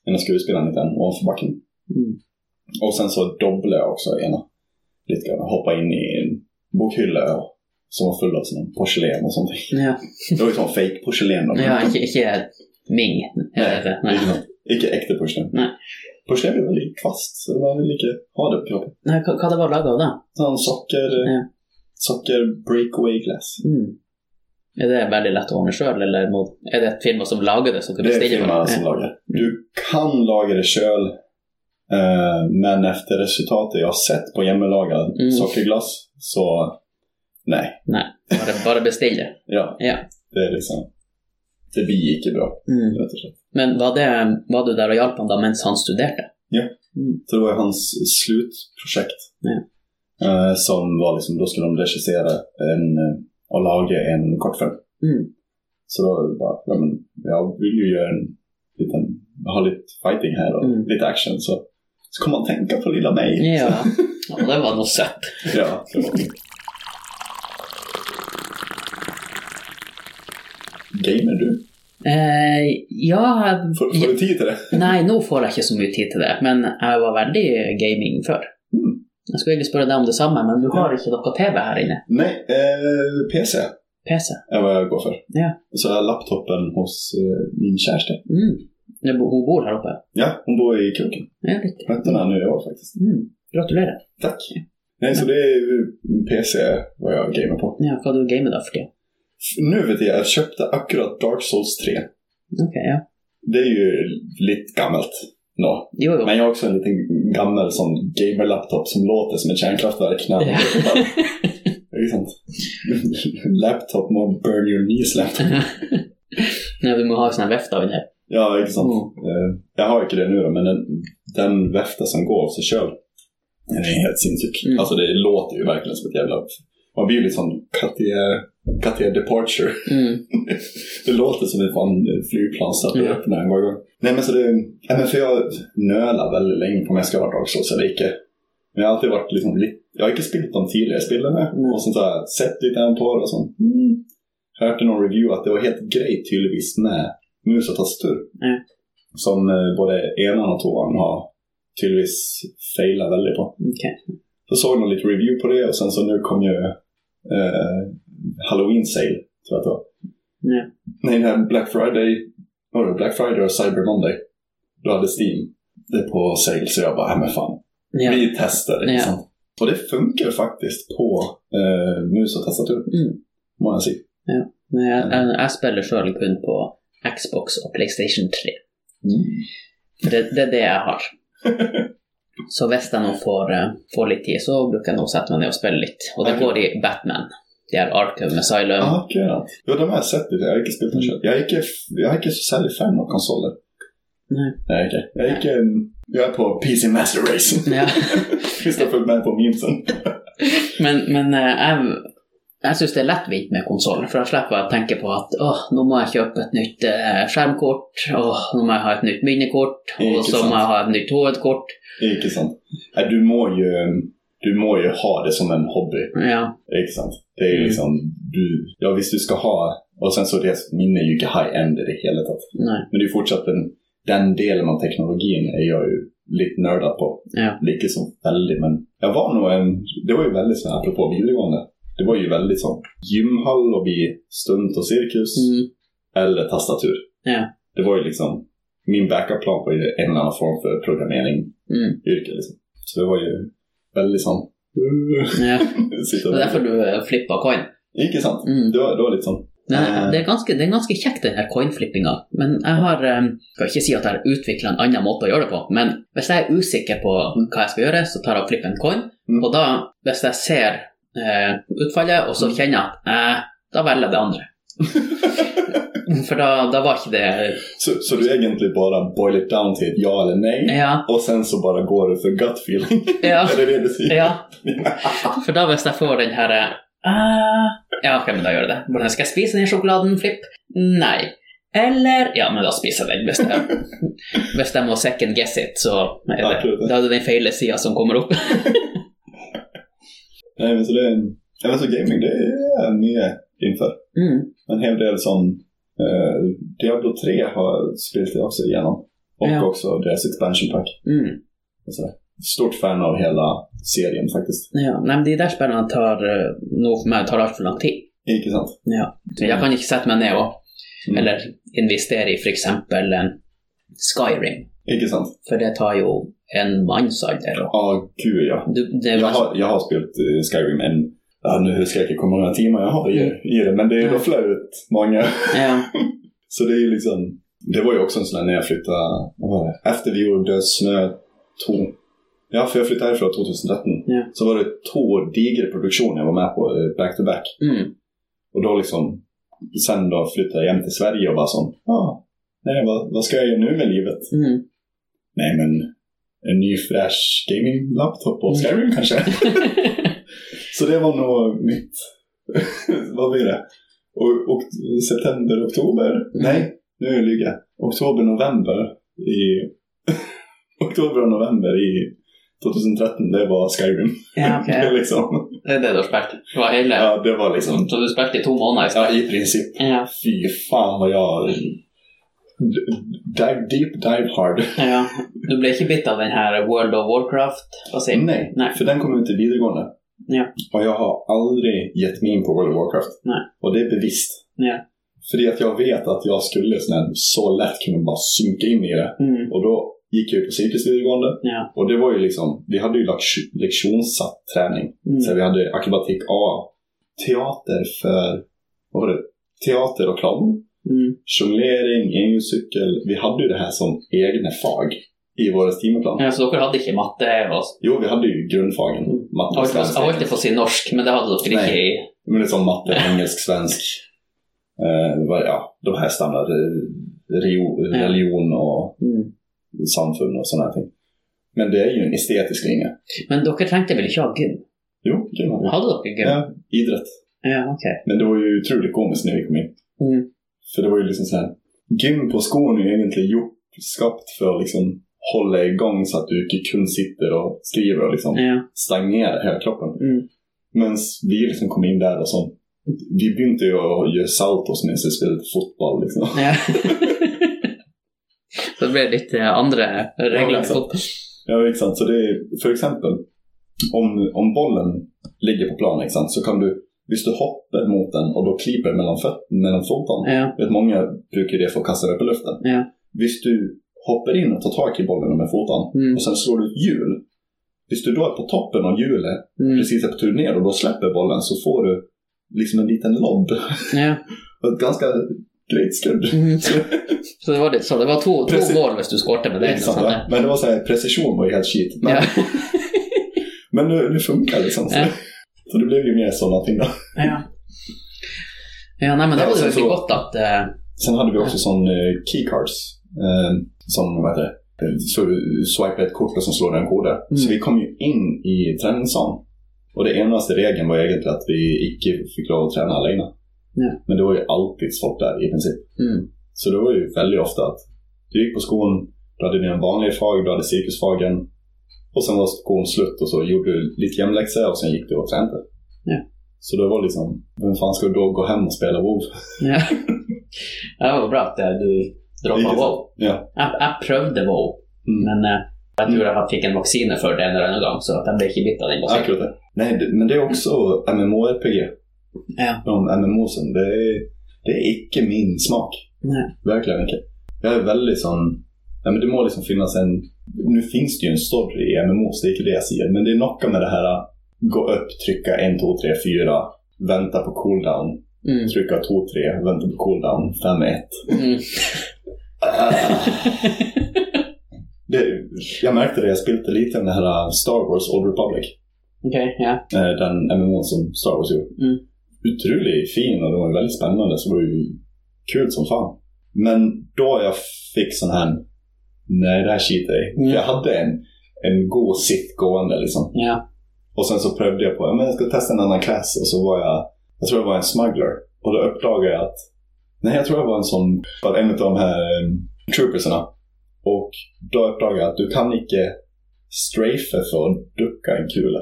[SPEAKER 2] ena skuespelaren lite grann ovanför backen.
[SPEAKER 1] Mm.
[SPEAKER 2] Och sen så dobblade jag också ena. Lite grann. Hoppade in i en bokhylla och- som var full av sån porselän och sånt.
[SPEAKER 1] Ja,
[SPEAKER 2] Det var ju sån fake porselän då. men-
[SPEAKER 1] ja ikke, ikke Ming.
[SPEAKER 2] Nej,
[SPEAKER 1] Eller, nei.
[SPEAKER 2] Inte, något- inte äkta porslin.
[SPEAKER 1] Nej.
[SPEAKER 2] Porslin är väl i kvast, så det var väl lika hard på kroppen.
[SPEAKER 1] nei, hva, hva det var laget av, da?
[SPEAKER 2] Sån socker,
[SPEAKER 1] Ja.
[SPEAKER 2] socker breakaway glass.
[SPEAKER 1] Mm. Er det veldig lett å ordne sjøl, eller må, er det et firma som lager det? som du
[SPEAKER 2] Det är alltså.
[SPEAKER 1] bestiller
[SPEAKER 2] firman
[SPEAKER 1] det?
[SPEAKER 2] som lagar. Du kan laga det köl, eh, men efter resultatet jag har sett på hemmalagad
[SPEAKER 1] Mm.
[SPEAKER 2] sockerglass så nej.
[SPEAKER 1] Ja, Bare, bare bestille.
[SPEAKER 2] Ja,
[SPEAKER 1] Ja.
[SPEAKER 2] det är liksom, det blir inte bra.
[SPEAKER 1] Mm.
[SPEAKER 2] Rätt och slätt.
[SPEAKER 1] Men var, det, var du där och hjälpte honom medan han studerade?
[SPEAKER 2] Så det var ju hans slutprojekt.
[SPEAKER 1] Ja.
[SPEAKER 2] Eh, som var liksom, då skulle de regissera en, eh, och laga en kortfilm.
[SPEAKER 1] Mm.
[SPEAKER 2] Så då var det bara, ja, men jag vill ju göra en liten, ha lite fighting här och
[SPEAKER 1] Mm.
[SPEAKER 2] lite action. Så, så kommer man tänka på lilla mig.
[SPEAKER 1] Ja. ja, det var nog sött.
[SPEAKER 2] Ja, det var det. Gamer du?
[SPEAKER 1] Eh, ja,
[SPEAKER 2] Får, får du tid till det?
[SPEAKER 1] nej, nu får jag inte så mycket tid till det, men jag var väldigt gaming förr.
[SPEAKER 2] Mm.
[SPEAKER 1] Jag skulle egentligen fråga dig om detsamma, men du har inte något TV här inne?
[SPEAKER 2] Nej, eh, PC
[SPEAKER 1] PC?
[SPEAKER 2] är vad jag går för.
[SPEAKER 1] Ja.
[SPEAKER 2] Och så har jag laptopen hos eh, min kärste.
[SPEAKER 1] Mm. Nu bo- Hon bor här uppe?
[SPEAKER 2] Ja, hon bor i Kroken.
[SPEAKER 1] Ja, riktigt.
[SPEAKER 2] Mötte henne nu i år faktiskt.
[SPEAKER 1] Mm. Gratulerar.
[SPEAKER 2] Tack. Nej, så det är ju PC vad jag gamer på.
[SPEAKER 1] Ja, vad har du gamer då för det?
[SPEAKER 2] Nu vet jag, jag köpte akkurat Dark Souls 3.
[SPEAKER 1] Okej, ja.
[SPEAKER 2] Det är ju lite gammalt. nå.
[SPEAKER 1] Jo, jo.
[SPEAKER 2] Men jag har också en liten gammal sån gamer-laptop som låter som ett kärnkraftverk. När
[SPEAKER 1] Ja.
[SPEAKER 2] Det är ju sant. Laptop more burn your knees laptop.
[SPEAKER 1] Nej, du måste ha en sån här väft av det.
[SPEAKER 2] Ja, ikke sant. Eh, Jeg har ikke det nå, da, men den, den vefta som går av seg sjøl, den er helt sinnssyk.
[SPEAKER 1] Mm.
[SPEAKER 2] Altså, det låter jo virkelig som et jævla Man blir litt sånn Cartier Departure.
[SPEAKER 1] Mm.
[SPEAKER 2] Det låter som ett fan eh, flygplan satt
[SPEAKER 1] Ja.
[SPEAKER 2] upp när den går igång. Nej men så det, ja, men för jag nölar väldigt länge på om jag ska vara Dark Souls eller inte. Men jag har alltid varit liksom lite, jag har inte spelat de tidigare spelen med.
[SPEAKER 1] Mm.
[SPEAKER 2] Och sen så har jag sett lite grann på det och sånt. Mm. Hört i någon review att det var helt grej tydligvis med mus och tastatur.
[SPEAKER 1] Mm.
[SPEAKER 2] Som eh, både ena och tvåan har tydligvis failat väldigt på.
[SPEAKER 1] Okej.
[SPEAKER 2] Så såg jag någon lite review på det och sen så nu kom ju eh, Halloween sale, tror jag att det var.
[SPEAKER 1] Ja.
[SPEAKER 2] Nej, det här Black Friday, var det Black Friday och Cyber Monday? Då hade Steam det på sale, så jag bara, "Ja, men fan,
[SPEAKER 1] Ja.
[SPEAKER 2] vi testar det.
[SPEAKER 1] Ja.
[SPEAKER 2] Liksom. Och det funkar faktiskt på eh, mus och tastatur,
[SPEAKER 1] Mm.
[SPEAKER 2] må jag säga.
[SPEAKER 1] Men jeg, jeg, jeg spiller sjøl kun på Xbox og PlayStation 3.
[SPEAKER 2] Mm.
[SPEAKER 1] Det, det er det jeg har. Så hvis jeg nå får, eh, får litt tid, så bruker jeg nå å sette meg ned og spille litt. Og det går i Batman. De her Arkham Asylum.
[SPEAKER 2] Ja, akkurat. Jo, de har jag sett lite. Jag har inte spelat
[SPEAKER 1] Mm.
[SPEAKER 2] den själv. Jag är inte, jag är inte så särskilt fan av konsoler.
[SPEAKER 1] Nej.
[SPEAKER 2] Jag är inte. Jag är, inte, en- jag är på PC Master Race.
[SPEAKER 1] Ja.
[SPEAKER 2] Visst har jag följt med på memesen.
[SPEAKER 1] Men, men eh, jeg, jeg syns det er lettvint med konsoll, for da slipper jeg å tenke på at åh, nå må jeg kjøpe et nytt eh, skjermkort, åh, nå må jeg ha et nytt minnekort, og
[SPEAKER 2] Ikke
[SPEAKER 1] så
[SPEAKER 2] sant.
[SPEAKER 1] må jeg ha et nytt hovedkort.
[SPEAKER 2] Ikke sant. Nei, Du må jo du må jo ha det som en hobby.
[SPEAKER 1] Ja.
[SPEAKER 2] Ikke sant? Det
[SPEAKER 1] Mm.
[SPEAKER 2] er jo liksom du, Ja, hvis du skal ha Og sen så det minnet er jo ikke high-end i det hele tatt.
[SPEAKER 1] Nei.
[SPEAKER 2] Men det er jo fortsatt den, den delen av teknologien er jeg jo litt nerda på.
[SPEAKER 1] Ja.
[SPEAKER 2] Like som veldig, men jeg var nå en Det var jo veldig sånn apropos videregående. Det var jo veldig sånn gymhall og bli stunt og sirkus
[SPEAKER 1] Mm.
[SPEAKER 2] eller tastatur.
[SPEAKER 1] Ja.
[SPEAKER 2] Det var jo liksom Min backup-plan var jo en eller annen form for programmering
[SPEAKER 1] Mm.
[SPEAKER 2] yrke. Liksom. Så det var ju väldigt sånn
[SPEAKER 1] Ja. Det
[SPEAKER 2] Sitta
[SPEAKER 1] er
[SPEAKER 2] og
[SPEAKER 1] derfor du eh, flippa coin.
[SPEAKER 2] Ikke sant?
[SPEAKER 1] Mm.
[SPEAKER 2] Det var, det var litt sånn
[SPEAKER 1] Nei,
[SPEAKER 2] Eh.
[SPEAKER 1] det, er ganske, det er ganske kjekt, den her coinflippinga. Men jeg har eh, Skal ikke si at jeg har utvikla en annen måte å gjøre det på, men hvis jeg er usikker på hva jeg skal gjøre, så tar jeg og flipper en coin.
[SPEAKER 2] Mm.
[SPEAKER 1] Og da, hvis jeg ser eh, utfallet, og så
[SPEAKER 2] Mm.
[SPEAKER 1] kjenner jeg at eh, da velger jeg det andre. For da, da var ikke det
[SPEAKER 2] Så, så du egentlig bare boil it down til et ja eller nei,
[SPEAKER 1] Ja.
[SPEAKER 2] og sen så bare går du for gut feeling?
[SPEAKER 1] ja.
[SPEAKER 2] er det det du sier?
[SPEAKER 1] Ja. For da hvis jeg får den her eh, Ja, ok, men da gjør jeg det. Hvordan skal jeg spise den sjokoladen? Flipp? Nei. Eller Ja, men da spiser jeg den. Hvis jeg, hvis jeg må second guess it, så er det, da er det den feile sida som kommer opp.
[SPEAKER 2] Nei, men så det ja, men så gaming, det er mye innenfor.
[SPEAKER 1] Mm.
[SPEAKER 2] En hel del sånn eh, Diablo 3 har spilt jeg også igjennom, og
[SPEAKER 1] Ja.
[SPEAKER 2] også deres expansion pack.
[SPEAKER 1] Mm.
[SPEAKER 2] Og så, stort fan av hele serien, faktisk.
[SPEAKER 1] Ja, nei, men de der spillene tar eh, noe for meg tar altfor lang tid.
[SPEAKER 2] Ikke sant?
[SPEAKER 1] Ja. Jeg kan ikke sette meg ned og
[SPEAKER 2] Mm.
[SPEAKER 1] eller investere i f.eks. Skyring,
[SPEAKER 2] Ikke sant?
[SPEAKER 1] for det tar jo en mannsalder.
[SPEAKER 2] Å, gud, ja.
[SPEAKER 1] Du, det er
[SPEAKER 2] Jag har, jag har spelat eh, Skyrim en, ja, nu huskar jag inte hur många timmar jag har i, i det, men det är då flöjt många.
[SPEAKER 1] ja.
[SPEAKER 2] Så det är ju liksom, det var ju också en sån där när jag flyttade, vad var det? Efter vi gjorde Snö 2. Ja, för jag flyttade härifrån 2013.
[SPEAKER 1] Ja.
[SPEAKER 2] Så var det två digra produktioner jag var med på eh, back to back.
[SPEAKER 1] mm.
[SPEAKER 2] Och då liksom, sen då flyttade jag hem till Sverige och bara sån, ja, ah, nej vad, vad ska jag göra nu med livet?
[SPEAKER 1] Mm.
[SPEAKER 2] Nej men, en ny fräsch gaming-laptop och Skyrim kanske? Så det var nog mitt, vad blir det? Och, och september, oktober? Nej, nu ljuger jag. Oktober, november i... oktober och november i 2013, det var Skyrim.
[SPEAKER 1] Ja, ok.
[SPEAKER 2] det, liksom,
[SPEAKER 1] Det er det du har spilt? Det var hele
[SPEAKER 2] ja, det var liksom...
[SPEAKER 1] Så du spilte i to måneder i
[SPEAKER 2] Ja,
[SPEAKER 1] stad?
[SPEAKER 2] i princip.
[SPEAKER 1] Ja.
[SPEAKER 2] Fy fan vad jag... d- Dive deep, dive hard.
[SPEAKER 1] ja. Du ble ikke bitt av den her World of Warcraft? Hva sier du?
[SPEAKER 2] Nej,
[SPEAKER 1] Nej.
[SPEAKER 2] för den kom ut i videregående.
[SPEAKER 1] Ja.
[SPEAKER 2] Och jag har aldrig gett mig in på World of Warcraft.
[SPEAKER 1] Nej.
[SPEAKER 2] Och det är bevisst.
[SPEAKER 1] Ja.
[SPEAKER 2] För att jag vet att jag skulle sån här, så lätt kunna bara synka in i det.
[SPEAKER 1] Mm.
[SPEAKER 2] Och då gick jag ju på cirkusvideregående.
[SPEAKER 1] Ja.
[SPEAKER 2] Och det var ju liksom, vi hade ju lekt- lektionssatt träning. Så
[SPEAKER 1] Mm.
[SPEAKER 2] vi hade akrobatik A, teater för, vad var det? Teater och clown,
[SPEAKER 1] Mm.
[SPEAKER 2] jonglering, enhjulscykel. Vi hade ju det här som egna fag i våra timeplan.
[SPEAKER 1] Ja, så dere hadde ikke matte? Og...
[SPEAKER 2] Jo, vi hade ju grundfagen.
[SPEAKER 1] Mm.
[SPEAKER 2] Matte
[SPEAKER 1] Jeg
[SPEAKER 2] och
[SPEAKER 1] holdt på- jeg
[SPEAKER 2] svenska.
[SPEAKER 1] holdt på å si norsk, men det hadde dere ikke i
[SPEAKER 2] Men det är som matte, engelsk, svensk. Eh, vad- ja, de här standard rio-
[SPEAKER 1] Ja.
[SPEAKER 2] religion och
[SPEAKER 1] Mm.
[SPEAKER 2] samfund och sådana här ting. Men det är ju en estetisk linje.
[SPEAKER 1] Men dere trengte vel ikke ha gym?
[SPEAKER 2] Jo, det var det.
[SPEAKER 1] Hadde dere gym?
[SPEAKER 2] Ja, idrott.
[SPEAKER 1] Ja, ok.
[SPEAKER 2] Men det var ju otroligt komiskt när vi kom in.
[SPEAKER 1] Mm.
[SPEAKER 2] För det var ju liksom så här. Gym på skon är ju egentligen gjort, skapt för att liksom hålla igång så att du inte kun sitter och skriver och liksom
[SPEAKER 1] Ja.
[SPEAKER 2] stagnerar hela kroppen.
[SPEAKER 1] Mm.
[SPEAKER 2] Men vi liksom kom in där och så. Vi började ju att göra saltos medan vi spelade fotboll. Liksom.
[SPEAKER 1] ja. Så det ble litt eh, andre
[SPEAKER 2] Ja,
[SPEAKER 1] regler.
[SPEAKER 2] ikke sant. Ja, exakt. Så det är, för exempel, om, om bollen ligger på planen, exakt, så kan du, om du hoppar mot den och då klipper mellan, föt- mellan foten,
[SPEAKER 1] Ja.
[SPEAKER 2] vet många brukar det för att kasta den upp i luften.
[SPEAKER 1] Ja.
[SPEAKER 2] Om du hoppar in och tar tag i bollen med foten
[SPEAKER 1] Mm.
[SPEAKER 2] och sen slår du ett hjul, om du då är på toppen av hjulet,
[SPEAKER 1] Mm.
[SPEAKER 2] precis är på tur ner och då släpper bollen så får du liksom en liten lobb.
[SPEAKER 1] Ja.
[SPEAKER 2] Och ett ganska grejt skudd.
[SPEAKER 1] Mhm. Så det var litt sånn. Det var to, to
[SPEAKER 2] Precis.
[SPEAKER 1] mål hvis du skårte med den.
[SPEAKER 2] Exakt,
[SPEAKER 1] sånn,
[SPEAKER 2] Liksom, va? Men det var så här, precision var ju helt shit. Men,
[SPEAKER 1] Ja.
[SPEAKER 2] men nu, nu funkar det liksom. Så,
[SPEAKER 1] Ja.
[SPEAKER 2] så det blev ju mer sådana ting då.
[SPEAKER 1] Ja. ja, nei, men det
[SPEAKER 2] Ja,
[SPEAKER 1] var jo
[SPEAKER 2] så-
[SPEAKER 1] veldig
[SPEAKER 2] så-
[SPEAKER 1] godt at eh,
[SPEAKER 2] Sen hade vi också sån eh, keycards. Eh, som, vad heter det? eh, Så du swipar ett kort och sen slår du en kod där. Så
[SPEAKER 1] Mm.
[SPEAKER 2] vi kom ju in i träningssalen. Och det enaste regeln var egentligen att vi icke fick lov att träna alena.
[SPEAKER 1] Ja.
[SPEAKER 2] Men det var ju alltid folk där i princip.
[SPEAKER 1] mm.
[SPEAKER 2] Så det var ju väldigt ofta att du gick på skolan, du hade din vanliga fag, du hade cirkusfagen. Och sen var skolan slut och så gjorde du lite hemläxor och sen gick du och tränade.
[SPEAKER 1] Ja.
[SPEAKER 2] Så det var liksom, vem fan ska då gå hem och spela WoW?
[SPEAKER 1] ja. Ja, Det var bra att eh, du droppa
[SPEAKER 2] Vilket-
[SPEAKER 1] wow.
[SPEAKER 2] Ja.
[SPEAKER 1] Jeg, jeg prøvde wow,
[SPEAKER 2] Mm.
[SPEAKER 1] men eh, jeg tror jeg fikk en vaksine for det en eller annen gang, så at jeg ble ikke bitt av den vaksinen.
[SPEAKER 2] Akkurat det. Nej, det- men det är också MMORPG.
[SPEAKER 1] Ja.
[SPEAKER 2] De MMOsen, det är, det är icke min smak.
[SPEAKER 1] Nej.
[SPEAKER 2] Verkligen inte. Jag är väldigt sån, nej men det må liksom finnas en, nu finns det ju en story i MMOs, det är inte det jag säger, men det är något med det här gå upp, trycka 1, 2, 3, 4, vänta på cooldown,
[SPEAKER 1] Mm.
[SPEAKER 2] trycka 2, 3, vänta på cooldown, 5, 1.
[SPEAKER 1] Mm.
[SPEAKER 2] Det, jag märkte det, jag spelade lite av den här Star Wars Old Republic.
[SPEAKER 1] Ok, ja.
[SPEAKER 2] Eh, den MMO som Star Wars gjorde.
[SPEAKER 1] Mm.
[SPEAKER 2] Otroligt fin och det var väldigt spännande så det var ju kul som fan. Men då jag fick sån här, nej det här skiter jag i.
[SPEAKER 1] Mm.
[SPEAKER 2] För Jag hade en, en god sitt gående liksom.
[SPEAKER 1] ja.
[SPEAKER 2] Och sen så prövade jag på, ja, men jag ska testa en annan klass och så var jag, jag tror jag var en smuggler. Och då uppdagade jag att, nej jag tror jag var en sån, var en av de här eh, trooperserna. Och då uppdagade jag att du kan inte strafe för att ducka en kula.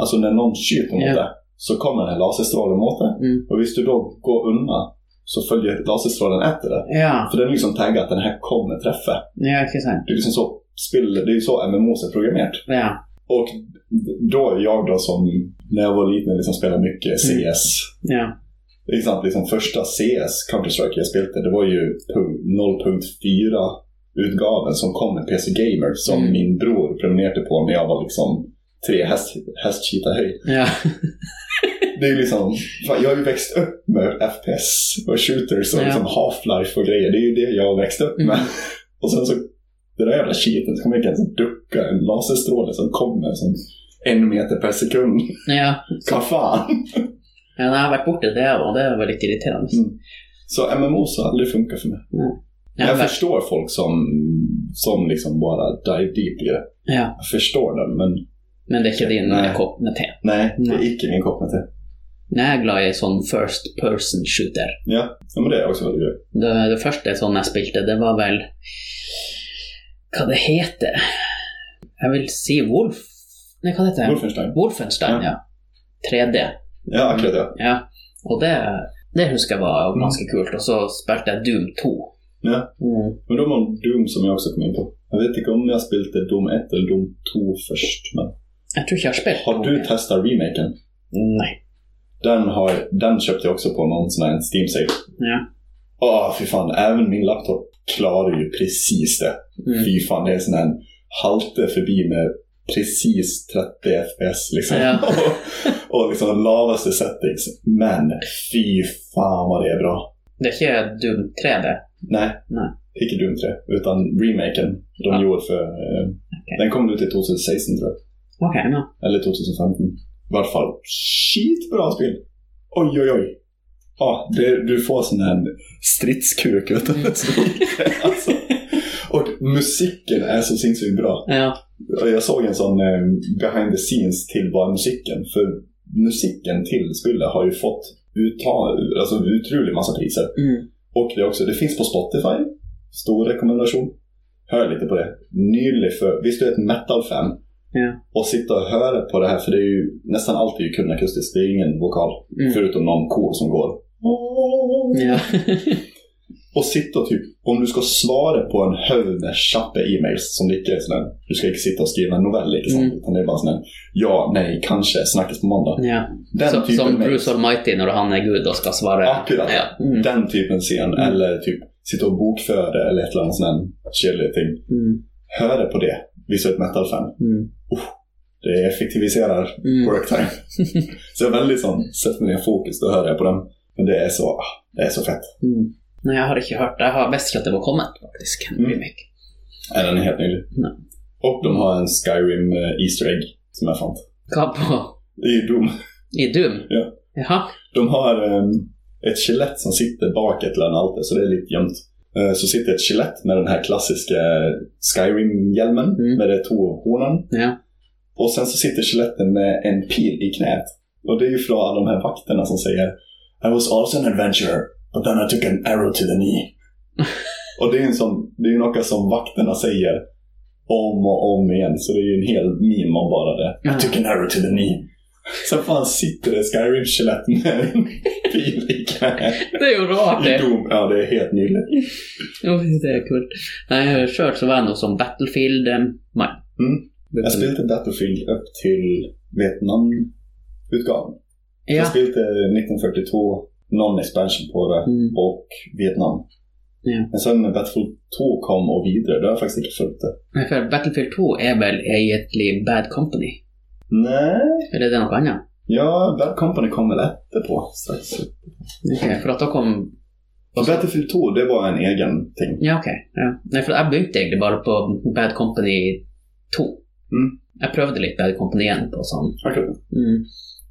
[SPEAKER 2] Alltså när någon skjuter mot
[SPEAKER 1] Ja.
[SPEAKER 2] dig så kommer den här laserstrålen mot dig.
[SPEAKER 1] Mm.
[SPEAKER 2] Och visst du då går undan så följer laserstrålen efter dig.
[SPEAKER 1] Ja,
[SPEAKER 2] För den är liksom taggad att den här kommer träffa.
[SPEAKER 1] ja, ikke sant.
[SPEAKER 2] Det är liksom så, spill, det är ju så MMOs är programmerat.
[SPEAKER 1] Ja.
[SPEAKER 2] Och då är jag då som, när jag var liten, liksom spelade mycket CS.
[SPEAKER 1] Ja.
[SPEAKER 2] Liksom, liksom första CS, Counter-Strike, jag spelade, det var ju pu- 0.4 utgaven som kom med PC Gamer som
[SPEAKER 1] Mm.
[SPEAKER 2] min bror prenumererade på när jag var liksom tre häst, hästkita höjd.
[SPEAKER 1] ja.
[SPEAKER 2] Det är ju liksom, fan, jag har ju växt upp med FPS och shooters och
[SPEAKER 1] Ja.
[SPEAKER 2] liksom Half-Life och grejer. Det är ju det jag har växt upp med.
[SPEAKER 1] Mm.
[SPEAKER 2] Och sen så, det där jävla cheaten, så kommer jag inte ens ducka en laserstråle som kommer som en meter per sekund.
[SPEAKER 1] ja.
[SPEAKER 2] Vad fan!
[SPEAKER 1] Ja, nei, jeg har vært borti det, og det var litt irriterende.
[SPEAKER 2] Mm. Så MMOs har aldrig funkat för mig.
[SPEAKER 1] Ja,
[SPEAKER 2] jag
[SPEAKER 1] men-
[SPEAKER 2] förstår folk som, som liksom bara dive deep i det.
[SPEAKER 1] ja.
[SPEAKER 2] Jag förstår dem, men
[SPEAKER 1] Men det er ikke din eh,
[SPEAKER 2] Nei.
[SPEAKER 1] kopp med te.
[SPEAKER 2] nej, det är
[SPEAKER 1] Nej.
[SPEAKER 2] icke min kopp med te.
[SPEAKER 1] Nei, Jeg er glad i sånn first person shooter.
[SPEAKER 2] Ja, men det är också väldigt grej.
[SPEAKER 1] Det, det første sånn jeg spilte, det var vel Hva det heter Jeg vil si Wolf Nei, hva det heter det?
[SPEAKER 2] Wolfenstein.
[SPEAKER 1] Wolfenstein, ja. 3D.
[SPEAKER 2] Ja, akkurat ja.
[SPEAKER 1] Ja. Og det, det husker jeg var
[SPEAKER 2] Mm.
[SPEAKER 1] ganske kult. Og så spilte jeg Doom 2.
[SPEAKER 2] Ja.
[SPEAKER 1] Mm.
[SPEAKER 2] Men då var det Doom som jag också kom in på. Jag vet inte om jag spelade Doom 1 eller Doom 2 först. Men
[SPEAKER 1] Jeg tror ikke jeg har spilt
[SPEAKER 2] har du
[SPEAKER 1] Doom.
[SPEAKER 2] testat remaken?
[SPEAKER 1] Nei.
[SPEAKER 2] Den, har, den köpte jag också på någon sån här steam sale
[SPEAKER 1] Ja.
[SPEAKER 2] Åh, fy fan. Även min laptop klarar ju precis det.
[SPEAKER 1] Mm.
[SPEAKER 2] Fy fan, det är sån här halter förbi med precis 30 FPS liksom.
[SPEAKER 1] Ja.
[SPEAKER 2] och, och liksom lavaste settings. Men fy fan vad det är bra.
[SPEAKER 1] Det er ikke Doom 3, det.
[SPEAKER 2] Nej.
[SPEAKER 1] Nej.
[SPEAKER 2] Icke Doom 3, utan remaken de
[SPEAKER 1] Ja.
[SPEAKER 2] gjorde för... Eh, Den kom ut i 2016 tror jag.
[SPEAKER 1] Ok, nå.
[SPEAKER 2] Eller 2015. I vart fall skitbra spel. Oj, oj, oj. Ja, det, du får sån här stridskuk vet du.
[SPEAKER 1] Mm.
[SPEAKER 2] alltså. Och musiken är så sinnessjukt bra.
[SPEAKER 1] Ja.
[SPEAKER 2] Och Jag såg en sån eh, behind the scenes till bara musiken. För musiken till spelet har ju fått utta, alltså, en otrolig massa priser.
[SPEAKER 1] Mm.
[SPEAKER 2] Och det, är också, det finns på Spotify. Stor rekommendation. Hör lite på det. Nylig för, visst du är ett metal-fan?
[SPEAKER 1] Ja.
[SPEAKER 2] Och sitta och höra på det här, för det är ju nästan alltid ju kun akustiskt. Det är ingen vokal.
[SPEAKER 1] Mm.
[SPEAKER 2] Förutom någon kor som går.
[SPEAKER 1] Ja.
[SPEAKER 2] Och sitta och typ, om du ska svara på en hög med tjappa e-mails som det inte är sån här, du ska inte sitta och skriva en novell liksom,
[SPEAKER 1] Mm.
[SPEAKER 2] utan det är bara sån här, ja, nej, kanske, snackas på måndag.
[SPEAKER 1] ja.
[SPEAKER 2] Den
[SPEAKER 1] Så,
[SPEAKER 2] typen
[SPEAKER 1] som
[SPEAKER 2] mails.
[SPEAKER 1] Bruce Almighty när han är gud och ska svara.
[SPEAKER 2] Akkurat.
[SPEAKER 1] Ja. Mm.
[SPEAKER 2] Den typen scen,
[SPEAKER 1] Mm.
[SPEAKER 2] eller typ sitta och bokföra eller ett eller annat sån här chillig ting.
[SPEAKER 1] Mm.
[SPEAKER 2] Höra på det, visa ett metal-fan.
[SPEAKER 1] Mm.
[SPEAKER 2] Det effektiviserar
[SPEAKER 1] Mm.
[SPEAKER 2] work time. så jag är väldigt sån, sätt mig ner fokus, då hör jag på den. Men det är så, ah, det är så fett.
[SPEAKER 1] Mm. Nej, jag har inte hört det. Jag har visst inte att det var kommet faktiskt.
[SPEAKER 2] Mm.
[SPEAKER 1] Mm.
[SPEAKER 2] Nej, den är helt nylig.
[SPEAKER 1] Nej.
[SPEAKER 2] Och de har en Skyrim eh, Easter Egg som jag fant.
[SPEAKER 1] på
[SPEAKER 2] Det är ju Doom.
[SPEAKER 1] I Doom?
[SPEAKER 2] Ja.
[SPEAKER 1] Jaha.
[SPEAKER 2] De har eh, ett skelett som sitter bak ett eller annat alter, så det är lite gömt. Eh, Så sitter ett skelett med den här klassiska Skyrim-hjälmen
[SPEAKER 1] Mm.
[SPEAKER 2] med de två hornen.
[SPEAKER 1] Ja.
[SPEAKER 2] Och sen så sitter skeletten med en pil i knät. Och det är ju från alla de här vakterna som säger I was also an adventurer, but then I took an arrow to the knee. och det är ju en sån- det är ju något som vakterna säger om och om igen, så det är ju en hel meme om bara det.
[SPEAKER 1] Ja.
[SPEAKER 2] I took an arrow to the knee. Sen fan sitter det Skyrim-skelett med en pil i knät.
[SPEAKER 1] Det är ju rart
[SPEAKER 2] I
[SPEAKER 1] det.
[SPEAKER 2] Doom. Ja, det är helt nyligt.
[SPEAKER 1] Jo, det är kul. När jag kört så var det nog som Battlefield. eh, Nej.
[SPEAKER 2] Mm. Jag spelade Battlefield upp till Vietnam-utgavan. Jag
[SPEAKER 1] Ja.
[SPEAKER 2] spelade 1942, någon expansion på det,
[SPEAKER 1] Mm.
[SPEAKER 2] och Vietnam.
[SPEAKER 1] Ja.
[SPEAKER 2] Men sen när Battlefield 2 kom och vidare, då har jag faktiskt inte följt det.
[SPEAKER 1] Nej, För Battlefield 2 är väl egentligen Bad Company?
[SPEAKER 2] Nej,
[SPEAKER 1] Eller är det något annat?
[SPEAKER 2] ja, Bad Company kom väl efterpå. strax.
[SPEAKER 1] Okej, för att då kom...
[SPEAKER 2] Och Battlefield 2, det var en egen ting.
[SPEAKER 1] Ja, okej. Ja. Nej, för jag byggde egentligen bara på Bad Company 2.
[SPEAKER 2] Mm.
[SPEAKER 1] Jag prövde lite Bad Company igen på sån.
[SPEAKER 2] Okej.
[SPEAKER 1] Mm.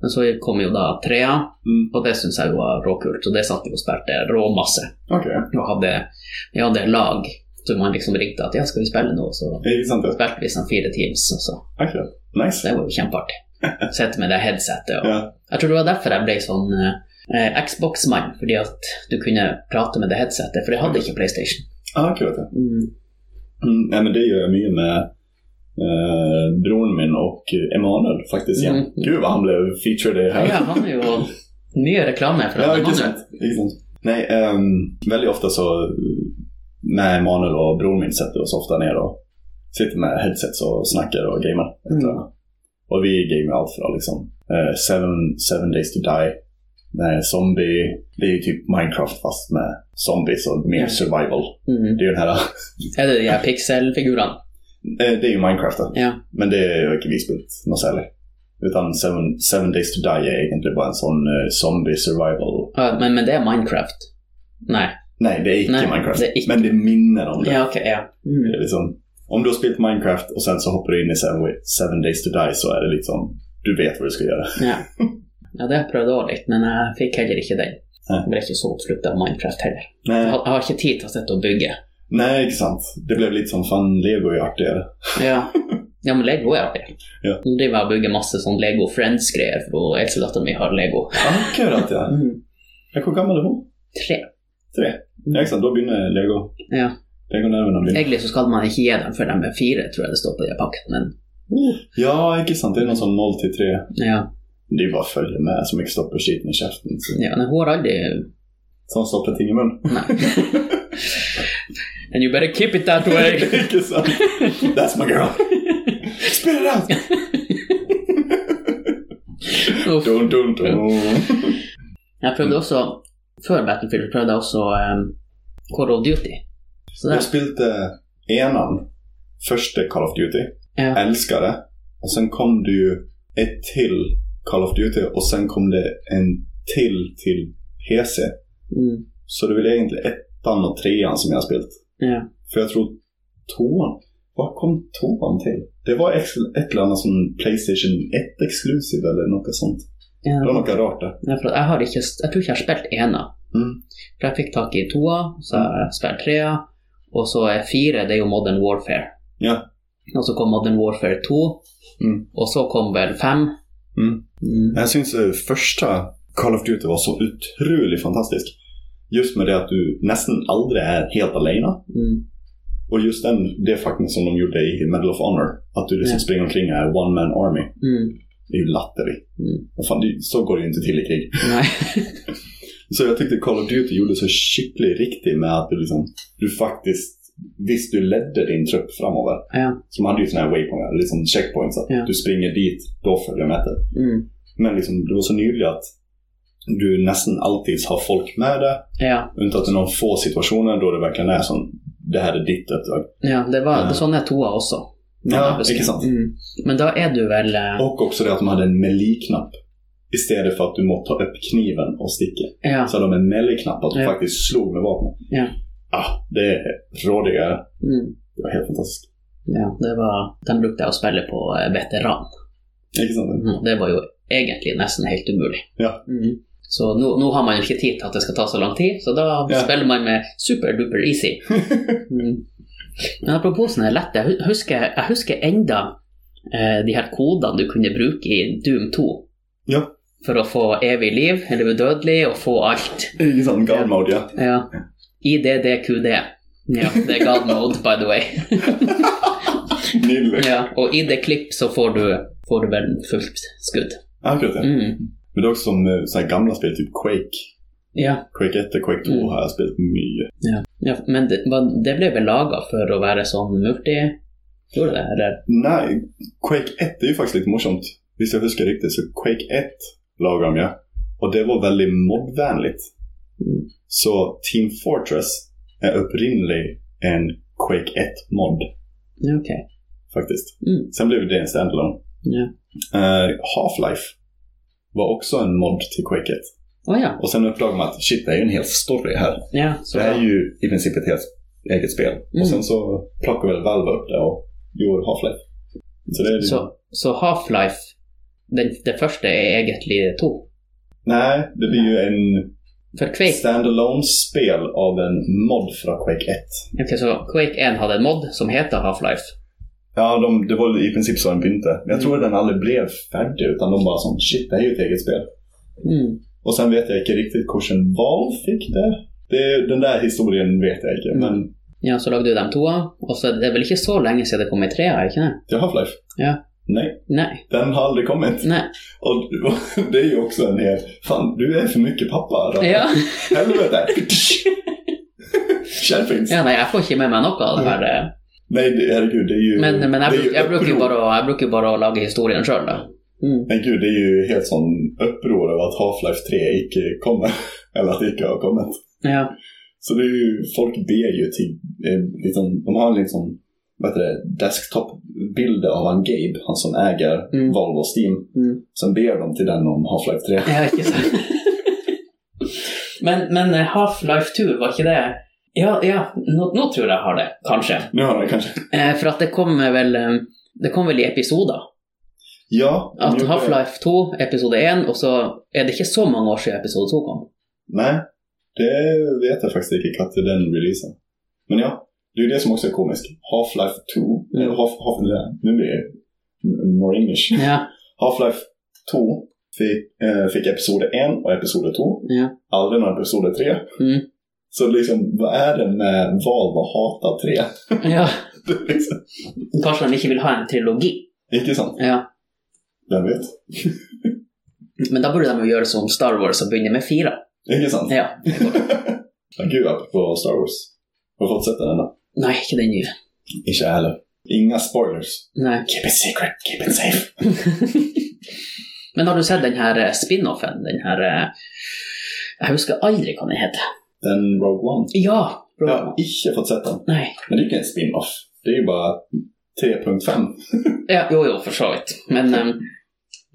[SPEAKER 1] Men så kom ju då trea
[SPEAKER 2] Mm.
[SPEAKER 1] och det syns jag var råkult. Så det satt jag och spelade råmasse.
[SPEAKER 2] Okej.
[SPEAKER 1] Jag hade, jag hade lag. Så man liksom ringde att jag ska vi spela nu? Så
[SPEAKER 2] Det är sant det.
[SPEAKER 1] spelade vi som fyra teams. Och så.
[SPEAKER 2] Okej.
[SPEAKER 1] så
[SPEAKER 2] Nice.
[SPEAKER 1] det var ju kämpartigt. Sätta med det här headsetet. Och.
[SPEAKER 2] Ja.
[SPEAKER 1] Jag tror det var därför jag blev sån eh, Xbox-man. För att du kunde prata med det headsetet. För det hade inte Playstation.
[SPEAKER 2] Ah, kul att det.
[SPEAKER 1] Mm.
[SPEAKER 2] Mm, nej, men det gör jag mycket med eh, brodern min och Emanuel faktiskt igen.
[SPEAKER 1] Mm.
[SPEAKER 2] Gud vad han blev featured i det
[SPEAKER 1] Ja,
[SPEAKER 2] här.
[SPEAKER 1] han är ju ny reklam här för
[SPEAKER 2] Ja,
[SPEAKER 1] honom
[SPEAKER 2] inte
[SPEAKER 1] nu.
[SPEAKER 2] sant. Inte sant. Nej, ehm, väldigt ofta så eh, när Emanuel och bror min sätter oss ofta ner och sitter med headsets och snackar och gamer.
[SPEAKER 1] Mm.
[SPEAKER 2] Och vi gamer allt från liksom eh, seven, seven Days to Die, nej, Zombie, det är ju typ Minecraft fast med zombies och mer
[SPEAKER 1] Mm.
[SPEAKER 2] survival.
[SPEAKER 1] Mm.
[SPEAKER 2] Det är ju den här,
[SPEAKER 1] Är det den här pixelfiguren?
[SPEAKER 2] eh, det är ju Minecraft då.
[SPEAKER 1] Ja.
[SPEAKER 2] Men det är ju inte vi spelat något särskilt. Utan seven, seven Days to Die är egentligen bara en sån eh, zombie survival.
[SPEAKER 1] Ja, men, men det är Minecraft. Nej.
[SPEAKER 2] Nej, det är icke
[SPEAKER 1] Nej,
[SPEAKER 2] Minecraft.
[SPEAKER 1] det är icke.
[SPEAKER 2] Men det minner om det.
[SPEAKER 1] Ja, okej. ja. Mm.
[SPEAKER 2] Det är liksom, om du har spelat Minecraft och sen så hoppar du in i Seven, seven Days to Die så är det liksom, du vet vad du ska göra.
[SPEAKER 1] Ja. ja, det prövde jag lite, men jag fick heller inte den.
[SPEAKER 2] Nej.
[SPEAKER 1] Jag blev inte så uppslukad av Minecraft heller. Jag
[SPEAKER 2] Nej,
[SPEAKER 1] har, jag har inte tid att sätta och bygga.
[SPEAKER 2] nej inte sant. Det blev lite som fan Lego är artigare.
[SPEAKER 1] Ja, ja men lego är det.
[SPEAKER 2] Ja.
[SPEAKER 1] Nu driver jag och bygger massor sån lego friends-grejer, för då älskar jag att de har lego.
[SPEAKER 2] Ja, kul att jag. Jag kom gammal ihop.
[SPEAKER 1] Tre.
[SPEAKER 2] Tre. Ja, exakt. Då börjar Lego.
[SPEAKER 1] Ja.
[SPEAKER 2] Lego-nerverna blir...
[SPEAKER 1] Egentligen så ska man inte ge den för den med fyra, tror jag det står på den packet. Men
[SPEAKER 2] Mm. Ja, inte sant. Det är någon som 0 till 3.
[SPEAKER 1] ja,
[SPEAKER 2] Det är bara att följa med så mycket stoppar skiten i käften. Så-
[SPEAKER 1] ja den har aldrig...
[SPEAKER 2] Som stoppar ting i munnen.
[SPEAKER 1] Nej. And you better keep it that way.
[SPEAKER 2] Inte sant. That's my girl. Spit it out!
[SPEAKER 1] Uff.
[SPEAKER 2] Dun, dun, dun.
[SPEAKER 1] Jag prövde också, för Battlefield prövde jag också um, Call of Duty. Så där.
[SPEAKER 2] Jag spelade enan, första Call of Duty,
[SPEAKER 1] Ja.
[SPEAKER 2] älskade det. Och sen kom det ju ett till Call of Duty och sen kom det en till till PC.
[SPEAKER 1] Mm.
[SPEAKER 2] Så det är väl egentligen ettan och trean som jag har spelat.
[SPEAKER 1] Ja.
[SPEAKER 2] För jag tror tvåan, vad kom tvåan till? Det var ex- ett eller annat som Playstation 1 exklusiv eller något sånt.
[SPEAKER 1] Ja.
[SPEAKER 2] Det var noe rart, det.
[SPEAKER 1] Ja, for at jeg, har ikke, jeg tror ikke jeg har spilt ena.
[SPEAKER 2] Mm.
[SPEAKER 1] For jeg fikk tak i toa, så har jeg spilt trea, og så er fire, det er jo Modern Warfare.
[SPEAKER 2] Ja.
[SPEAKER 1] Og så kom Modern Warfare 2,
[SPEAKER 2] Mm.
[SPEAKER 1] og så kom vel fem.
[SPEAKER 2] Mm.
[SPEAKER 1] Mm.
[SPEAKER 2] Jeg syns første Call of Duty var så utrolig fantastisk. Just med det at du nesten aldri er helt alene.
[SPEAKER 1] Mm.
[SPEAKER 2] Og just den, det faktum som de gjorde i Medal of Honor, at du liksom
[SPEAKER 1] Ja.
[SPEAKER 2] springer omkring og er one man army,
[SPEAKER 1] Mm.
[SPEAKER 2] det är ju latteri.
[SPEAKER 1] Mm.
[SPEAKER 2] Vad Fan, det, så går det ju inte till i krig.
[SPEAKER 1] Nei.
[SPEAKER 2] Så jag tyckte Call of Duty gjorde så skicklig riktigt med att du liksom, du faktiskt, visst du ledde din trupp framöver.
[SPEAKER 1] Ja.
[SPEAKER 2] Så man hade ju såna här waypoints, liksom checkpoints, att
[SPEAKER 1] Ja.
[SPEAKER 2] du springer dit, då följer jag med dig.
[SPEAKER 1] Mm.
[SPEAKER 2] Men liksom, det var så nyligt att du nästan alltid har folk med dig.
[SPEAKER 1] Ja.
[SPEAKER 2] Inte att det är några få situationer då det verkligen är som, det här är ditt uppdrag.
[SPEAKER 1] ja, det var
[SPEAKER 2] Ja.
[SPEAKER 1] sånn er toa også.
[SPEAKER 2] Ja, ikke sant.
[SPEAKER 1] Mm. Men da er du vel eh,
[SPEAKER 2] Och också det att de hade en melee-knapp. Istället för att du måste ta upp kniven och sticka.
[SPEAKER 1] Ja.
[SPEAKER 2] Så hade de en melee-knapp att du
[SPEAKER 1] Ja.
[SPEAKER 2] faktiskt slog med vapnet.
[SPEAKER 1] Ja.
[SPEAKER 2] Ah, det är rådigare.
[SPEAKER 1] Mm.
[SPEAKER 2] Det var helt fantastiskt.
[SPEAKER 1] ja det var, den brukte jeg å spille på eh, veteran.
[SPEAKER 2] Ikke sant?
[SPEAKER 1] Mm, Det var jo egentlig nesten helt umulig.
[SPEAKER 2] Ja.
[SPEAKER 1] Mm. Så nå, nå har man jo ikke tid til at det skal ta så lang tid, så da
[SPEAKER 2] Ja.
[SPEAKER 1] spiller man med super-duper easy. Mm. Men apropos sånne lette, jeg hu- husker, jeg husker enda eh, de her kodene du kunne bruke i Doom 2.
[SPEAKER 2] Ja.
[SPEAKER 1] For å få evig liv, eller udødelig, og få alt.
[SPEAKER 2] Ikke sant? Guard mode, ja.
[SPEAKER 1] Ja. IDDQD. Ja, det er god mode, by the way.
[SPEAKER 2] Nydelig.
[SPEAKER 1] Ja, og i det klipp så får du, får du vel fullt skudd.
[SPEAKER 2] Ja, akkurat ja.
[SPEAKER 1] Mm.
[SPEAKER 2] Men det är också som eh, så här gamla spel, typ Quake.
[SPEAKER 1] Ja.
[SPEAKER 2] Quake 1 och Quake 2
[SPEAKER 1] Mm.
[SPEAKER 2] har jag spelat mycket.
[SPEAKER 1] Ja, men det, var- det ble vel laga for å være sånn multi... Gjorde det, eller?
[SPEAKER 2] Nej, Quake 1 är ju faktiskt lite morsomt. Visst jag huskar riktigt, så Quake 1 lagade de ju. Och det var väldigt modvänligt.
[SPEAKER 1] Mm.
[SPEAKER 2] Så Team Fortress är upprinnelig en Quake 1-mod
[SPEAKER 1] Ja, ok.
[SPEAKER 2] faktiskt.
[SPEAKER 1] Mm.
[SPEAKER 2] Sen blev det en standalone.
[SPEAKER 1] Ja.
[SPEAKER 2] Eh, Half-Life var också en mod till Quake 1.
[SPEAKER 1] Å ja.
[SPEAKER 2] Och sen uppdagade man att shit, det är ju en hel story här.
[SPEAKER 1] ja. Mm.
[SPEAKER 2] Så
[SPEAKER 1] Så
[SPEAKER 2] det
[SPEAKER 1] bra.
[SPEAKER 2] är ju i princip ett helt eget spel. Och sen så plockade väl Valve upp det och gjorde Half-Life. Så det är ju...
[SPEAKER 1] Så, så Half-Life, den, det første er egentlig to.
[SPEAKER 2] Nej, det blir ju en
[SPEAKER 1] For Quake,
[SPEAKER 2] standalone spel av en mod från Quake 1.
[SPEAKER 1] ok, så Quake 1 hadde en mod som heter Half-Life.
[SPEAKER 2] Ja, de, det var i princip så den pynte. Jag
[SPEAKER 1] Mm.
[SPEAKER 2] tror att den aldrig blev färdig, utan de bara som shit, det här är ju ett eget spel.
[SPEAKER 1] Mm.
[SPEAKER 2] Och sen vet jag inte riktigt kursen Valve fick det. det. Den där historien vet jag inte,
[SPEAKER 1] Mm.
[SPEAKER 2] men
[SPEAKER 1] Ja, så lagde du de toa, og så er det vel ikke så lenge siden det kom i trea, ikke det?
[SPEAKER 2] till Half-Life?
[SPEAKER 1] Ja.
[SPEAKER 2] Nej,
[SPEAKER 1] Nei.
[SPEAKER 2] den har aldrig kommit.
[SPEAKER 1] Nei.
[SPEAKER 2] Och det är ju också en hel... Fan, du är för mycket pappa. Då.
[SPEAKER 1] Ja.
[SPEAKER 2] Helvete! Skärpings!
[SPEAKER 1] ja, nei, jeg får ikke med meg noe av det her. eh.
[SPEAKER 2] Nej, det- herregud, det är ju...
[SPEAKER 1] Men, men
[SPEAKER 2] det är
[SPEAKER 1] jeg, bruk, jeg, bruker jo
[SPEAKER 2] uppror.
[SPEAKER 1] bare å, jeg bruker jo bare å lage historien sjøl, da. Mm.
[SPEAKER 2] Men gud, det är ju helt sån uppror över att Half-Life 3 icke kommer. Eller att det icke har kommit.
[SPEAKER 1] Ja.
[SPEAKER 2] Så det är ju, folk ber ju till, eh, liksom, de har en liksom, vad heter det, desktop-bilder av han Gabe, han som äger
[SPEAKER 1] Mm.
[SPEAKER 2] Valve och Steam.
[SPEAKER 1] Mm.
[SPEAKER 2] Sen ber de till den om Half-Life 3.
[SPEAKER 1] Ja, ikke sant. men men eh, Half-Life 2, var ikke det Ja, ja nå, nå tror jeg jeg har det, kanskje.
[SPEAKER 2] Nu har de kanske...
[SPEAKER 1] Eh, for at det kom vel eh, Det kom vel i episoder.
[SPEAKER 2] Ja. de
[SPEAKER 1] At
[SPEAKER 2] gjorde-
[SPEAKER 1] Half-Life 2, episode 1, og så er det ikke så mange år siden episode 2 kom.
[SPEAKER 2] Nej, det vet jag faktiskt inte katt den releasen. Men ja, det är ju det som också är komiskt. Half-Life 2,
[SPEAKER 1] Mm.
[SPEAKER 2] eller half, half, nu blir det more English.
[SPEAKER 1] Ja,
[SPEAKER 2] Half-Life 2 fick, eh, fick episode 1 och episode 2.
[SPEAKER 1] ja.
[SPEAKER 2] Aldrig någon episode 3.
[SPEAKER 1] Mm.
[SPEAKER 2] Så liksom, vad är det med Valve och hata 3?
[SPEAKER 1] ja.
[SPEAKER 2] Det är liksom,
[SPEAKER 1] Kanskje de ikke vil ha en trilogi.
[SPEAKER 2] inte sant?
[SPEAKER 1] Ja.
[SPEAKER 2] Vem vet?
[SPEAKER 1] Men da burde de jo gjøre som Star Wars og begynne med fire.
[SPEAKER 2] Inte sant?
[SPEAKER 1] Ja. det går.
[SPEAKER 2] Ja. Gud, på Star Wars. Har du fått sett den ännu?
[SPEAKER 1] Nei, ikke den nye.
[SPEAKER 2] Inte jag heller. Inga spoilers.
[SPEAKER 1] Nei.
[SPEAKER 2] Keep it secret, keep it safe.
[SPEAKER 1] Men har du sett den her eh, spin-offen? Den her eh, Jeg husker aldri hva den heter.
[SPEAKER 2] Den Rogue One.
[SPEAKER 1] Ja!
[SPEAKER 2] Jag
[SPEAKER 1] bra.
[SPEAKER 2] har inte fått sett den.
[SPEAKER 1] Nei.
[SPEAKER 2] Men det är ju ingen spin-off. Det är ju bara 3.5.
[SPEAKER 1] Ja, jo, jo, for så vidt. Men, eh,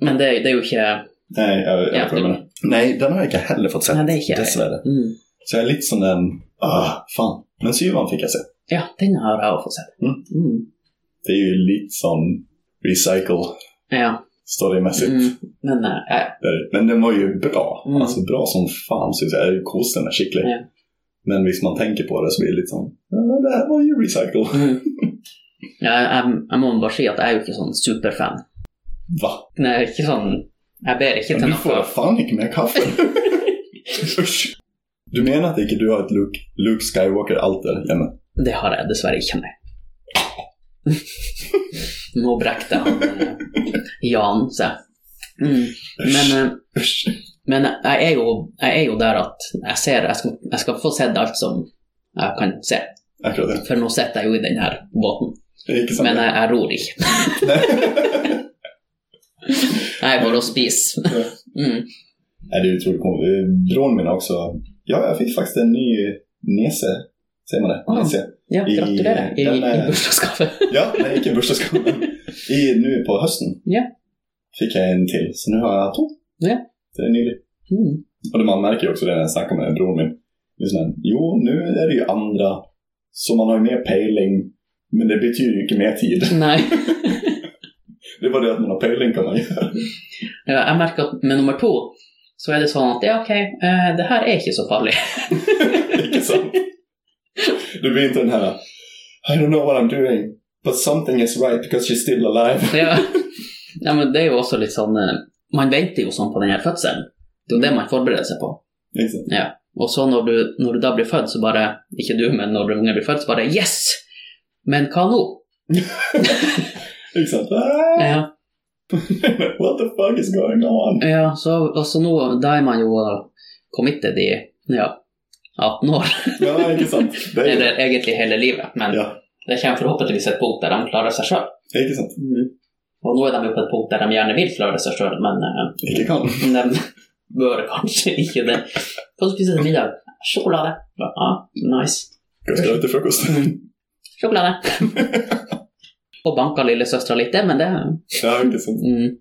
[SPEAKER 1] men det, det er jo ikke
[SPEAKER 2] Nej, jag, jag
[SPEAKER 1] Ja,
[SPEAKER 2] ja,
[SPEAKER 1] det-
[SPEAKER 2] det... Nej, den har jeg inte heller fått sett.
[SPEAKER 1] Nei, det er ikke
[SPEAKER 2] Dessvärre.
[SPEAKER 1] Mm.
[SPEAKER 2] Så jag är lite som den, ah, fan. Men syvan fick jag se.
[SPEAKER 1] Ja, den har jeg også fått sett.
[SPEAKER 2] Mm.
[SPEAKER 1] Mm.
[SPEAKER 2] Det är ju lite som recycle.
[SPEAKER 1] Ja.
[SPEAKER 2] Storymässigt.
[SPEAKER 1] Mm, men eh, ja,
[SPEAKER 2] Det är det. Men den var ju bra.
[SPEAKER 1] Mm.
[SPEAKER 2] Alltså bra som fan, så att säga. Kosten är skicklig.
[SPEAKER 1] Ja.
[SPEAKER 2] Men visst man tänker på det så blir det lite som, ja, det här var ju recycle.
[SPEAKER 1] mm. ja, jeg, jeg må bare si at jeg er jo ikke sånn superfan.
[SPEAKER 2] Va?
[SPEAKER 1] Nei, ikke sånn Jeg ber ikke
[SPEAKER 2] Men
[SPEAKER 1] til
[SPEAKER 2] du får
[SPEAKER 1] noe.
[SPEAKER 2] fan inte mer kaffe. Usch. Du menar att inte du har ett Luke, Luke Skywalker-alter hemma?
[SPEAKER 1] Det har jeg dessverre ikke, nei. Nå brekte han eh, Jan seg. Mm. Men eh,
[SPEAKER 2] Usch.
[SPEAKER 1] Men jeg er jo, jeg er jo der at jeg ser jeg skal, jeg skal få sett alt som jeg kan se.
[SPEAKER 2] Akkurat det.
[SPEAKER 1] For nå sitter jeg jo i den her båten.
[SPEAKER 2] Det är inte sant.
[SPEAKER 1] Men jeg, jeg ror ikke. Jeg går og spiser.
[SPEAKER 2] Ja.
[SPEAKER 1] Mm.
[SPEAKER 2] Nej, det är otroligt coolt. Bron min också. Ja, jag fick faktiskt en ny nese. Säger man det?
[SPEAKER 1] Ah.
[SPEAKER 2] Nese.
[SPEAKER 1] Ja,
[SPEAKER 2] I-
[SPEAKER 1] gratulerer. I,
[SPEAKER 2] den
[SPEAKER 1] i
[SPEAKER 2] er-
[SPEAKER 1] bursdagsgave.
[SPEAKER 2] Ja, det gick i bursdagsgången. I Nu på hösten
[SPEAKER 1] Ja.
[SPEAKER 2] fick jag en till. Så nu har jag två.
[SPEAKER 1] Ja.
[SPEAKER 2] Det är nyligt.
[SPEAKER 1] Mm.
[SPEAKER 2] Och det man märker ju också det när jag snackar med bror min. Det är sån här, jo, nu är det ju andra. Så man har ju mer pejling. Men det betyder ju inte mer tid.
[SPEAKER 1] Nei.
[SPEAKER 2] Det är bara det att man har pejling kan man göra.
[SPEAKER 1] Ja, Jeg merker at med nummer to så er det sånn at ja, ok, eh, det her er ikke så farlig.
[SPEAKER 2] Inte sant? Det blir inte den här I don't know what I'm doing. But something is right because she's still alive.
[SPEAKER 1] Ja. ja, men det er jo også litt sånn eh, Man venter jo sånn på den her fødselen. Det er
[SPEAKER 2] Mm.
[SPEAKER 1] jo det man forbereder seg på.
[SPEAKER 2] Liksom.
[SPEAKER 1] Og så når du, når du da blir født, så bare Ikke du, men når ungen blir født, så bare Yes! Men hva nå?
[SPEAKER 2] Liksom. Ah,
[SPEAKER 1] Ja,
[SPEAKER 2] What the fuck is going on?
[SPEAKER 1] ja så og så nå Da er man jo committed i ja, 18 år.
[SPEAKER 2] Ja, inte sant? Det är ju det.
[SPEAKER 1] Eller egentlig hele livet. Men
[SPEAKER 2] Ja,
[SPEAKER 1] det kommer forhåpentligvis et punkt der de klarer seg sjøl.
[SPEAKER 2] inte sant?
[SPEAKER 1] Og nå er de jo på et punkt der de gjerne vil klare seg sjøl, men eh,
[SPEAKER 2] Inte kan.
[SPEAKER 1] de bør kanskje ikke det. Få spise til middag. Sjokolade. Ja, nice.
[SPEAKER 2] Jag ska ha lite frukost.
[SPEAKER 1] Sjokolade. Og banka lillesøstera litt, det, men det
[SPEAKER 2] Ja, inte sant?
[SPEAKER 1] mm.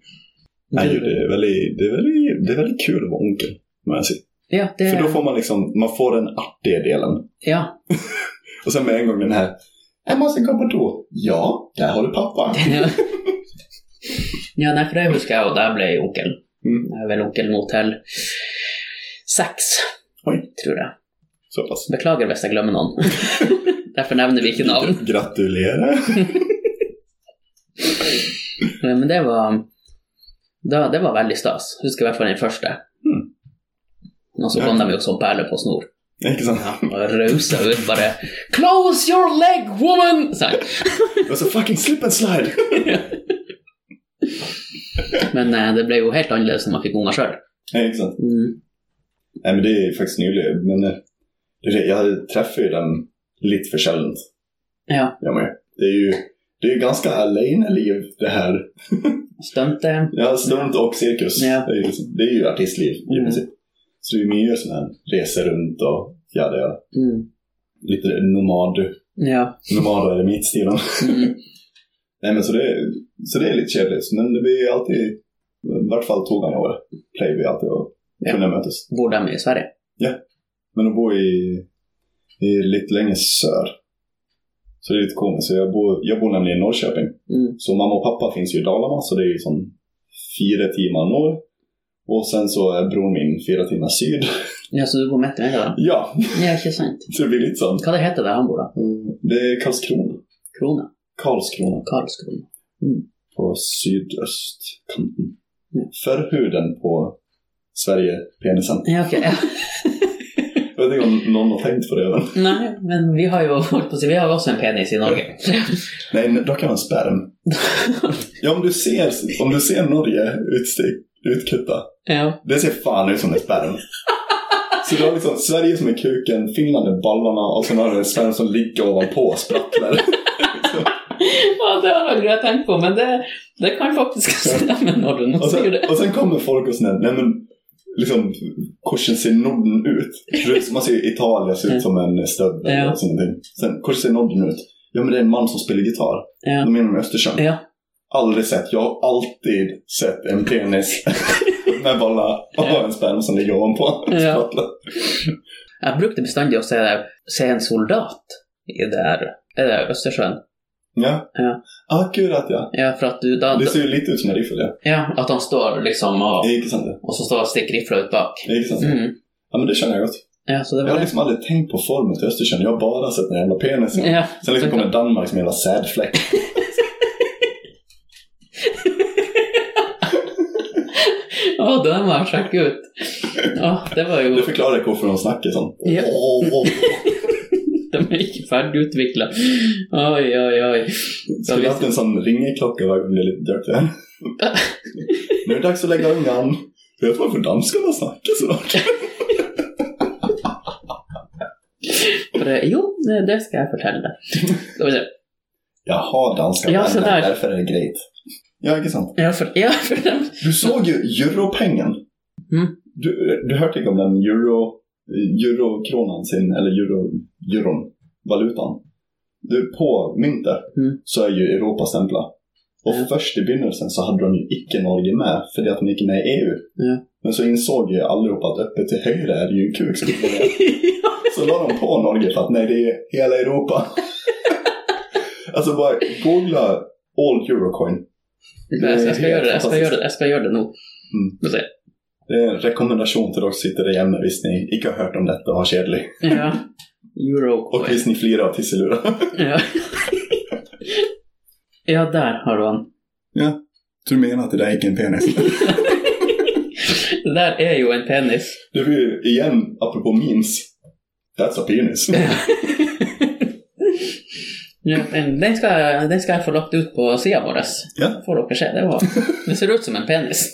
[SPEAKER 2] Nej, det är väldigt, det är väldigt, det är väldigt kul att vara onkel. må jag säga.
[SPEAKER 1] Ja, det,
[SPEAKER 2] För då får man liksom, man får den artiga delen.
[SPEAKER 1] ja.
[SPEAKER 2] Och sen med en gång den här, jag måste gå på då. Ja, där har du pappa.
[SPEAKER 1] ja, nei, for det husker jeg, og der ble jeg onkel.
[SPEAKER 2] Mm.
[SPEAKER 1] Jeg er vel onkel nå til seks,
[SPEAKER 2] Oj.
[SPEAKER 1] tror jeg.
[SPEAKER 2] Så pass.
[SPEAKER 1] Beklager hvis jeg glemmer noen. Derfor nevner vi ikke navn.
[SPEAKER 2] Gratulerar.
[SPEAKER 1] Men det var, da, det var veldig stas. Husker i hvert fall den første.
[SPEAKER 2] Mm.
[SPEAKER 1] Og så kom de jo som perler på snor.
[SPEAKER 2] Inte sant?
[SPEAKER 1] Og rausa ut bare 'Close your leg, woman!' sa jeg.
[SPEAKER 2] Och så fucking slip and slide.
[SPEAKER 1] Men eh, det ble jo helt annerledes når man fikk unger sjøl.
[SPEAKER 2] Nej, inte sant?
[SPEAKER 1] Mm.
[SPEAKER 2] Nej, men det är faktiskt nyligen. Men eh, det är det, jag träffar ju den lite för sällan.
[SPEAKER 1] Ja.
[SPEAKER 2] Jag med. Det är ju det är ju ganska alenaliv det här.
[SPEAKER 1] Stunte.
[SPEAKER 2] Ja, alltså, stunt och cirkus.
[SPEAKER 1] Ja.
[SPEAKER 2] Det, är ju, liksom- det är ju artistliv i
[SPEAKER 1] Mm.
[SPEAKER 2] princip. Så det är ju mer sån här reser runt och ja, det är
[SPEAKER 1] Mm.
[SPEAKER 2] lite nomad,
[SPEAKER 1] Ja.
[SPEAKER 2] nomad och eremitstilen.
[SPEAKER 1] Mm.
[SPEAKER 2] Nej, men så det, är- så det är lite kedligt. Men det blir ju alltid, i vart fall två gånger i året, play vi alltid och
[SPEAKER 1] Ja.
[SPEAKER 2] kunna mötas.
[SPEAKER 1] Bor de i Sverige?
[SPEAKER 2] Men de bor i, i lite längre söder. Så det är lite komiskt. Så Jag bor, jag bor nämligen i Norrköping.
[SPEAKER 1] Mm.
[SPEAKER 2] Så mamma och pappa finns ju i Dalarna, så det är ju som fyra timmar norr. Och sen så är bror min fyra timmar syd.
[SPEAKER 1] Ja, så du bor midt i Norge, da?
[SPEAKER 2] Ja,
[SPEAKER 1] Ja, ikke sant.
[SPEAKER 2] så det blir lite sånt.
[SPEAKER 1] Hva det heter det han bor, da?
[SPEAKER 2] Mm, Det är Karlskrona.
[SPEAKER 1] Krona?
[SPEAKER 2] Karlskrona
[SPEAKER 1] Karlskrona?
[SPEAKER 2] på sydöstkanten.
[SPEAKER 1] Ja.
[SPEAKER 2] Förhuden på Sverige, penisen.
[SPEAKER 1] Ja, ok. Ja.
[SPEAKER 2] Jag vet inte om någon har tänkt på det. Men...
[SPEAKER 1] Nei, men vi har jo holdt på å si, vi har jo också en penis i Norge.
[SPEAKER 2] Nej, då kan man sperm. ja, om du ser, om du ser Norge utstick, utkutta.
[SPEAKER 1] Ja.
[SPEAKER 2] Det ser fan ut som en sperm. Så du har liksom Sverige som är kuken, Finland är ballarna och sen har du en sperm som ligger ovanpå och sprattlar.
[SPEAKER 1] ja, det har aldri jeg tenkt på, men det, det kan faktisk stemme når du nå
[SPEAKER 2] och,
[SPEAKER 1] sier
[SPEAKER 2] sen,
[SPEAKER 1] det.
[SPEAKER 2] och sen kommer folk och sådär, nej men liksom, hur ser Norden ut? För det- Man ser ju Italien ser ut som en stövel
[SPEAKER 1] Mm. Ja.
[SPEAKER 2] och sånt där. Sen, hur ser Norden ut? Ja men det är en man som spelar gitarr.
[SPEAKER 1] Ja.
[SPEAKER 2] De är inom Östersjön.
[SPEAKER 1] Ja.
[SPEAKER 2] aldrig sett. Jag har alltid sett en penis med bollar och en sperm som ligger ovanpå.
[SPEAKER 1] Ja.
[SPEAKER 2] Spotlight.
[SPEAKER 1] Jeg brukte bestandig å se, se en soldat i det her, er det Østersjøen.
[SPEAKER 2] Ja. Ah,
[SPEAKER 1] Ja.
[SPEAKER 2] Akkurat ja.
[SPEAKER 1] Ja, for at du da
[SPEAKER 2] Det ser ju lite ut som en riffel ja.
[SPEAKER 1] Ja, at han står liksom og
[SPEAKER 2] Det är inte sant det.
[SPEAKER 1] Og så står stikker rifla ut bak.
[SPEAKER 2] Det är inte sant.
[SPEAKER 1] Mm.
[SPEAKER 2] Ja men det känner jag gott.
[SPEAKER 1] Ja, så det
[SPEAKER 2] Jag
[SPEAKER 1] var
[SPEAKER 2] har
[SPEAKER 1] det.
[SPEAKER 2] liksom aldrig tänkt på formen till Östersjön. Jag har bara sett den jävla penisen.
[SPEAKER 1] Ja. Mm.
[SPEAKER 2] Sen liksom kommer Danmark som en jävla sädfläck.
[SPEAKER 1] Å, den var sjekk ut. Å, det var jo
[SPEAKER 2] Det förklarar varför de snackar sånt.
[SPEAKER 1] Ja.
[SPEAKER 2] Åh, åh, åh.
[SPEAKER 1] De er ikke ferdig utvikla. Oi, oi, oi.
[SPEAKER 2] Skulle haft en sån ringeklocka varje gång det är lite dök där. nu är det dags att lägga ungan. Vet du varför danskarna snackar så mycket?
[SPEAKER 1] For, eh, jo, det skal jeg fortelle deg. Skal vi se.
[SPEAKER 2] Jaha, danska
[SPEAKER 1] Ja,
[SPEAKER 2] vänner,
[SPEAKER 1] så där.
[SPEAKER 2] därför är det grejt. Ja, inte sant.
[SPEAKER 1] Ja, for, ja, for dem.
[SPEAKER 2] Du såg ju europengen.
[SPEAKER 1] Mm.
[SPEAKER 2] Du, du hörde inte om den euro, eurokronan sin, eller euro, euron, valutan. Du, på myntet
[SPEAKER 1] Mm.
[SPEAKER 2] så är ju Europa stämplat. Och
[SPEAKER 1] Mm.
[SPEAKER 2] först i begynnelsen så hade de ju icke Norge med, för det att de gick med i EU.
[SPEAKER 1] Ja.
[SPEAKER 2] Men så insåg ju allihopa att uppe till höger är det ju kuk skulle vara. Så la de på Norge för att nej, det är hela Europa. alltså bara googla all eurocoin.
[SPEAKER 1] Jeg skal, jeg skal gjøre det. Jeg skal gjøre det, jeg skal gjøre det nå.
[SPEAKER 2] Mm.
[SPEAKER 1] Skal vi se.
[SPEAKER 2] Det är en rekommendation till er som sitter där hemma, visst ni icke har hört om detta och har kedlig.
[SPEAKER 1] Ja.
[SPEAKER 2] Och
[SPEAKER 1] Eurocoin.
[SPEAKER 2] visst ni flirar av tisselurar.
[SPEAKER 1] Ja. ja, der har du han.
[SPEAKER 2] Du menar att det där är icke en penis?
[SPEAKER 1] Det der er jo en penis.
[SPEAKER 2] Det blir ju igen, apropå memes. That's a penis.
[SPEAKER 1] Ja, men den, skal jeg, den skal jeg få lagt ut på sida vår. Da
[SPEAKER 2] Ja.
[SPEAKER 1] Får dere se. Det, var, det ser ut som en penis.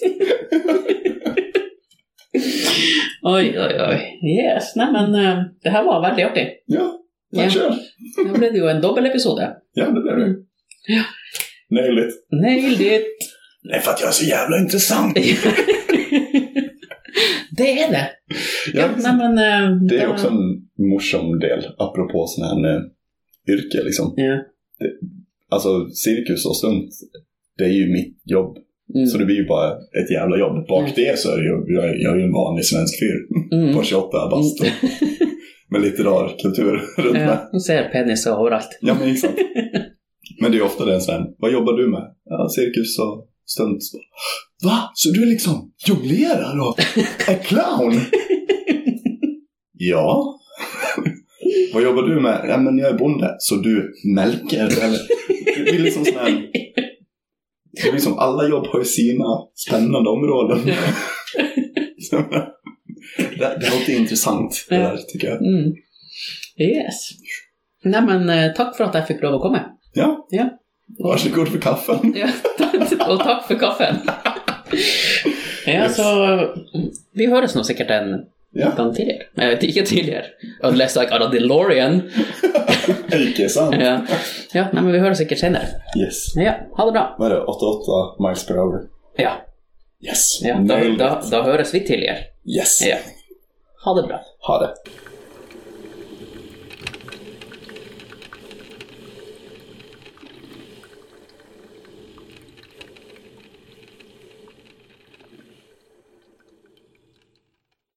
[SPEAKER 1] oi, oi, oi. Yes. Neimen, det her var veldig artig.
[SPEAKER 2] ja, men
[SPEAKER 1] Ja.
[SPEAKER 2] kör.
[SPEAKER 1] Da ble det jo en dobbelepisode.
[SPEAKER 2] Ja, det blir det.
[SPEAKER 1] Ja.
[SPEAKER 2] Nailed it.
[SPEAKER 1] Nailed it!
[SPEAKER 2] Nej, för att jag är så jävla intressant.
[SPEAKER 1] det är det. Ja,
[SPEAKER 2] Ja,
[SPEAKER 1] neimen eh,
[SPEAKER 2] det är
[SPEAKER 1] da-
[SPEAKER 2] också en morsom del, apropå sån här eh, yrke liksom.
[SPEAKER 1] Ja.
[SPEAKER 2] Det, alltså cirkus och stunt, det är ju mitt jobb.
[SPEAKER 1] mm,
[SPEAKER 2] Så det blir ju bara ett jävla jobb. Bak
[SPEAKER 1] Mm.
[SPEAKER 2] det så är jag, jag, är- jag är ju en vanlig svensk fyr
[SPEAKER 1] mm.
[SPEAKER 2] på 28 bast. Med lite rar kultur runt mig.
[SPEAKER 1] Ja, du ser peniser overalt.
[SPEAKER 2] Ja, men exakt. Men det är ju ofta den sen. Vad jobbar du med? Ja, cirkus och stunt. Va? Så du är liksom jonglerar och är clown? ja. Vad jobbar du med? Ja, men jag är bonde. Så du mälker? Eller? Det blir liksom sån här... Det blir som alla jobb har ju sina spännande områden. det, det låter intressant, det där tycker jag.
[SPEAKER 1] Mm. Yes. Neimen, eh, takk for at jeg fikk lov å komme.
[SPEAKER 2] Ja,
[SPEAKER 1] Ja. Og,
[SPEAKER 2] varsågod för kaffen.
[SPEAKER 1] ja, og takk for kaffen. Ja,
[SPEAKER 2] Yes.
[SPEAKER 1] så mm, Vi høres nå sikkert en
[SPEAKER 2] Ja,
[SPEAKER 1] gang tidligere. Jeg vet ikke tidligere. Unless I got a DeLorean.
[SPEAKER 2] icke sant.
[SPEAKER 1] Ja, ja nei, men vi høres sikkert senere.
[SPEAKER 2] Yes.
[SPEAKER 1] Ja, ha det bra.
[SPEAKER 2] Vad är det? 88 miles per hour?
[SPEAKER 1] Ja,
[SPEAKER 2] Yes.
[SPEAKER 1] ja da,
[SPEAKER 2] Nailed
[SPEAKER 1] da,
[SPEAKER 2] it.
[SPEAKER 1] da høres vi tidligere.
[SPEAKER 2] Yes.
[SPEAKER 1] Ja. Ha det bra.
[SPEAKER 2] Ha det.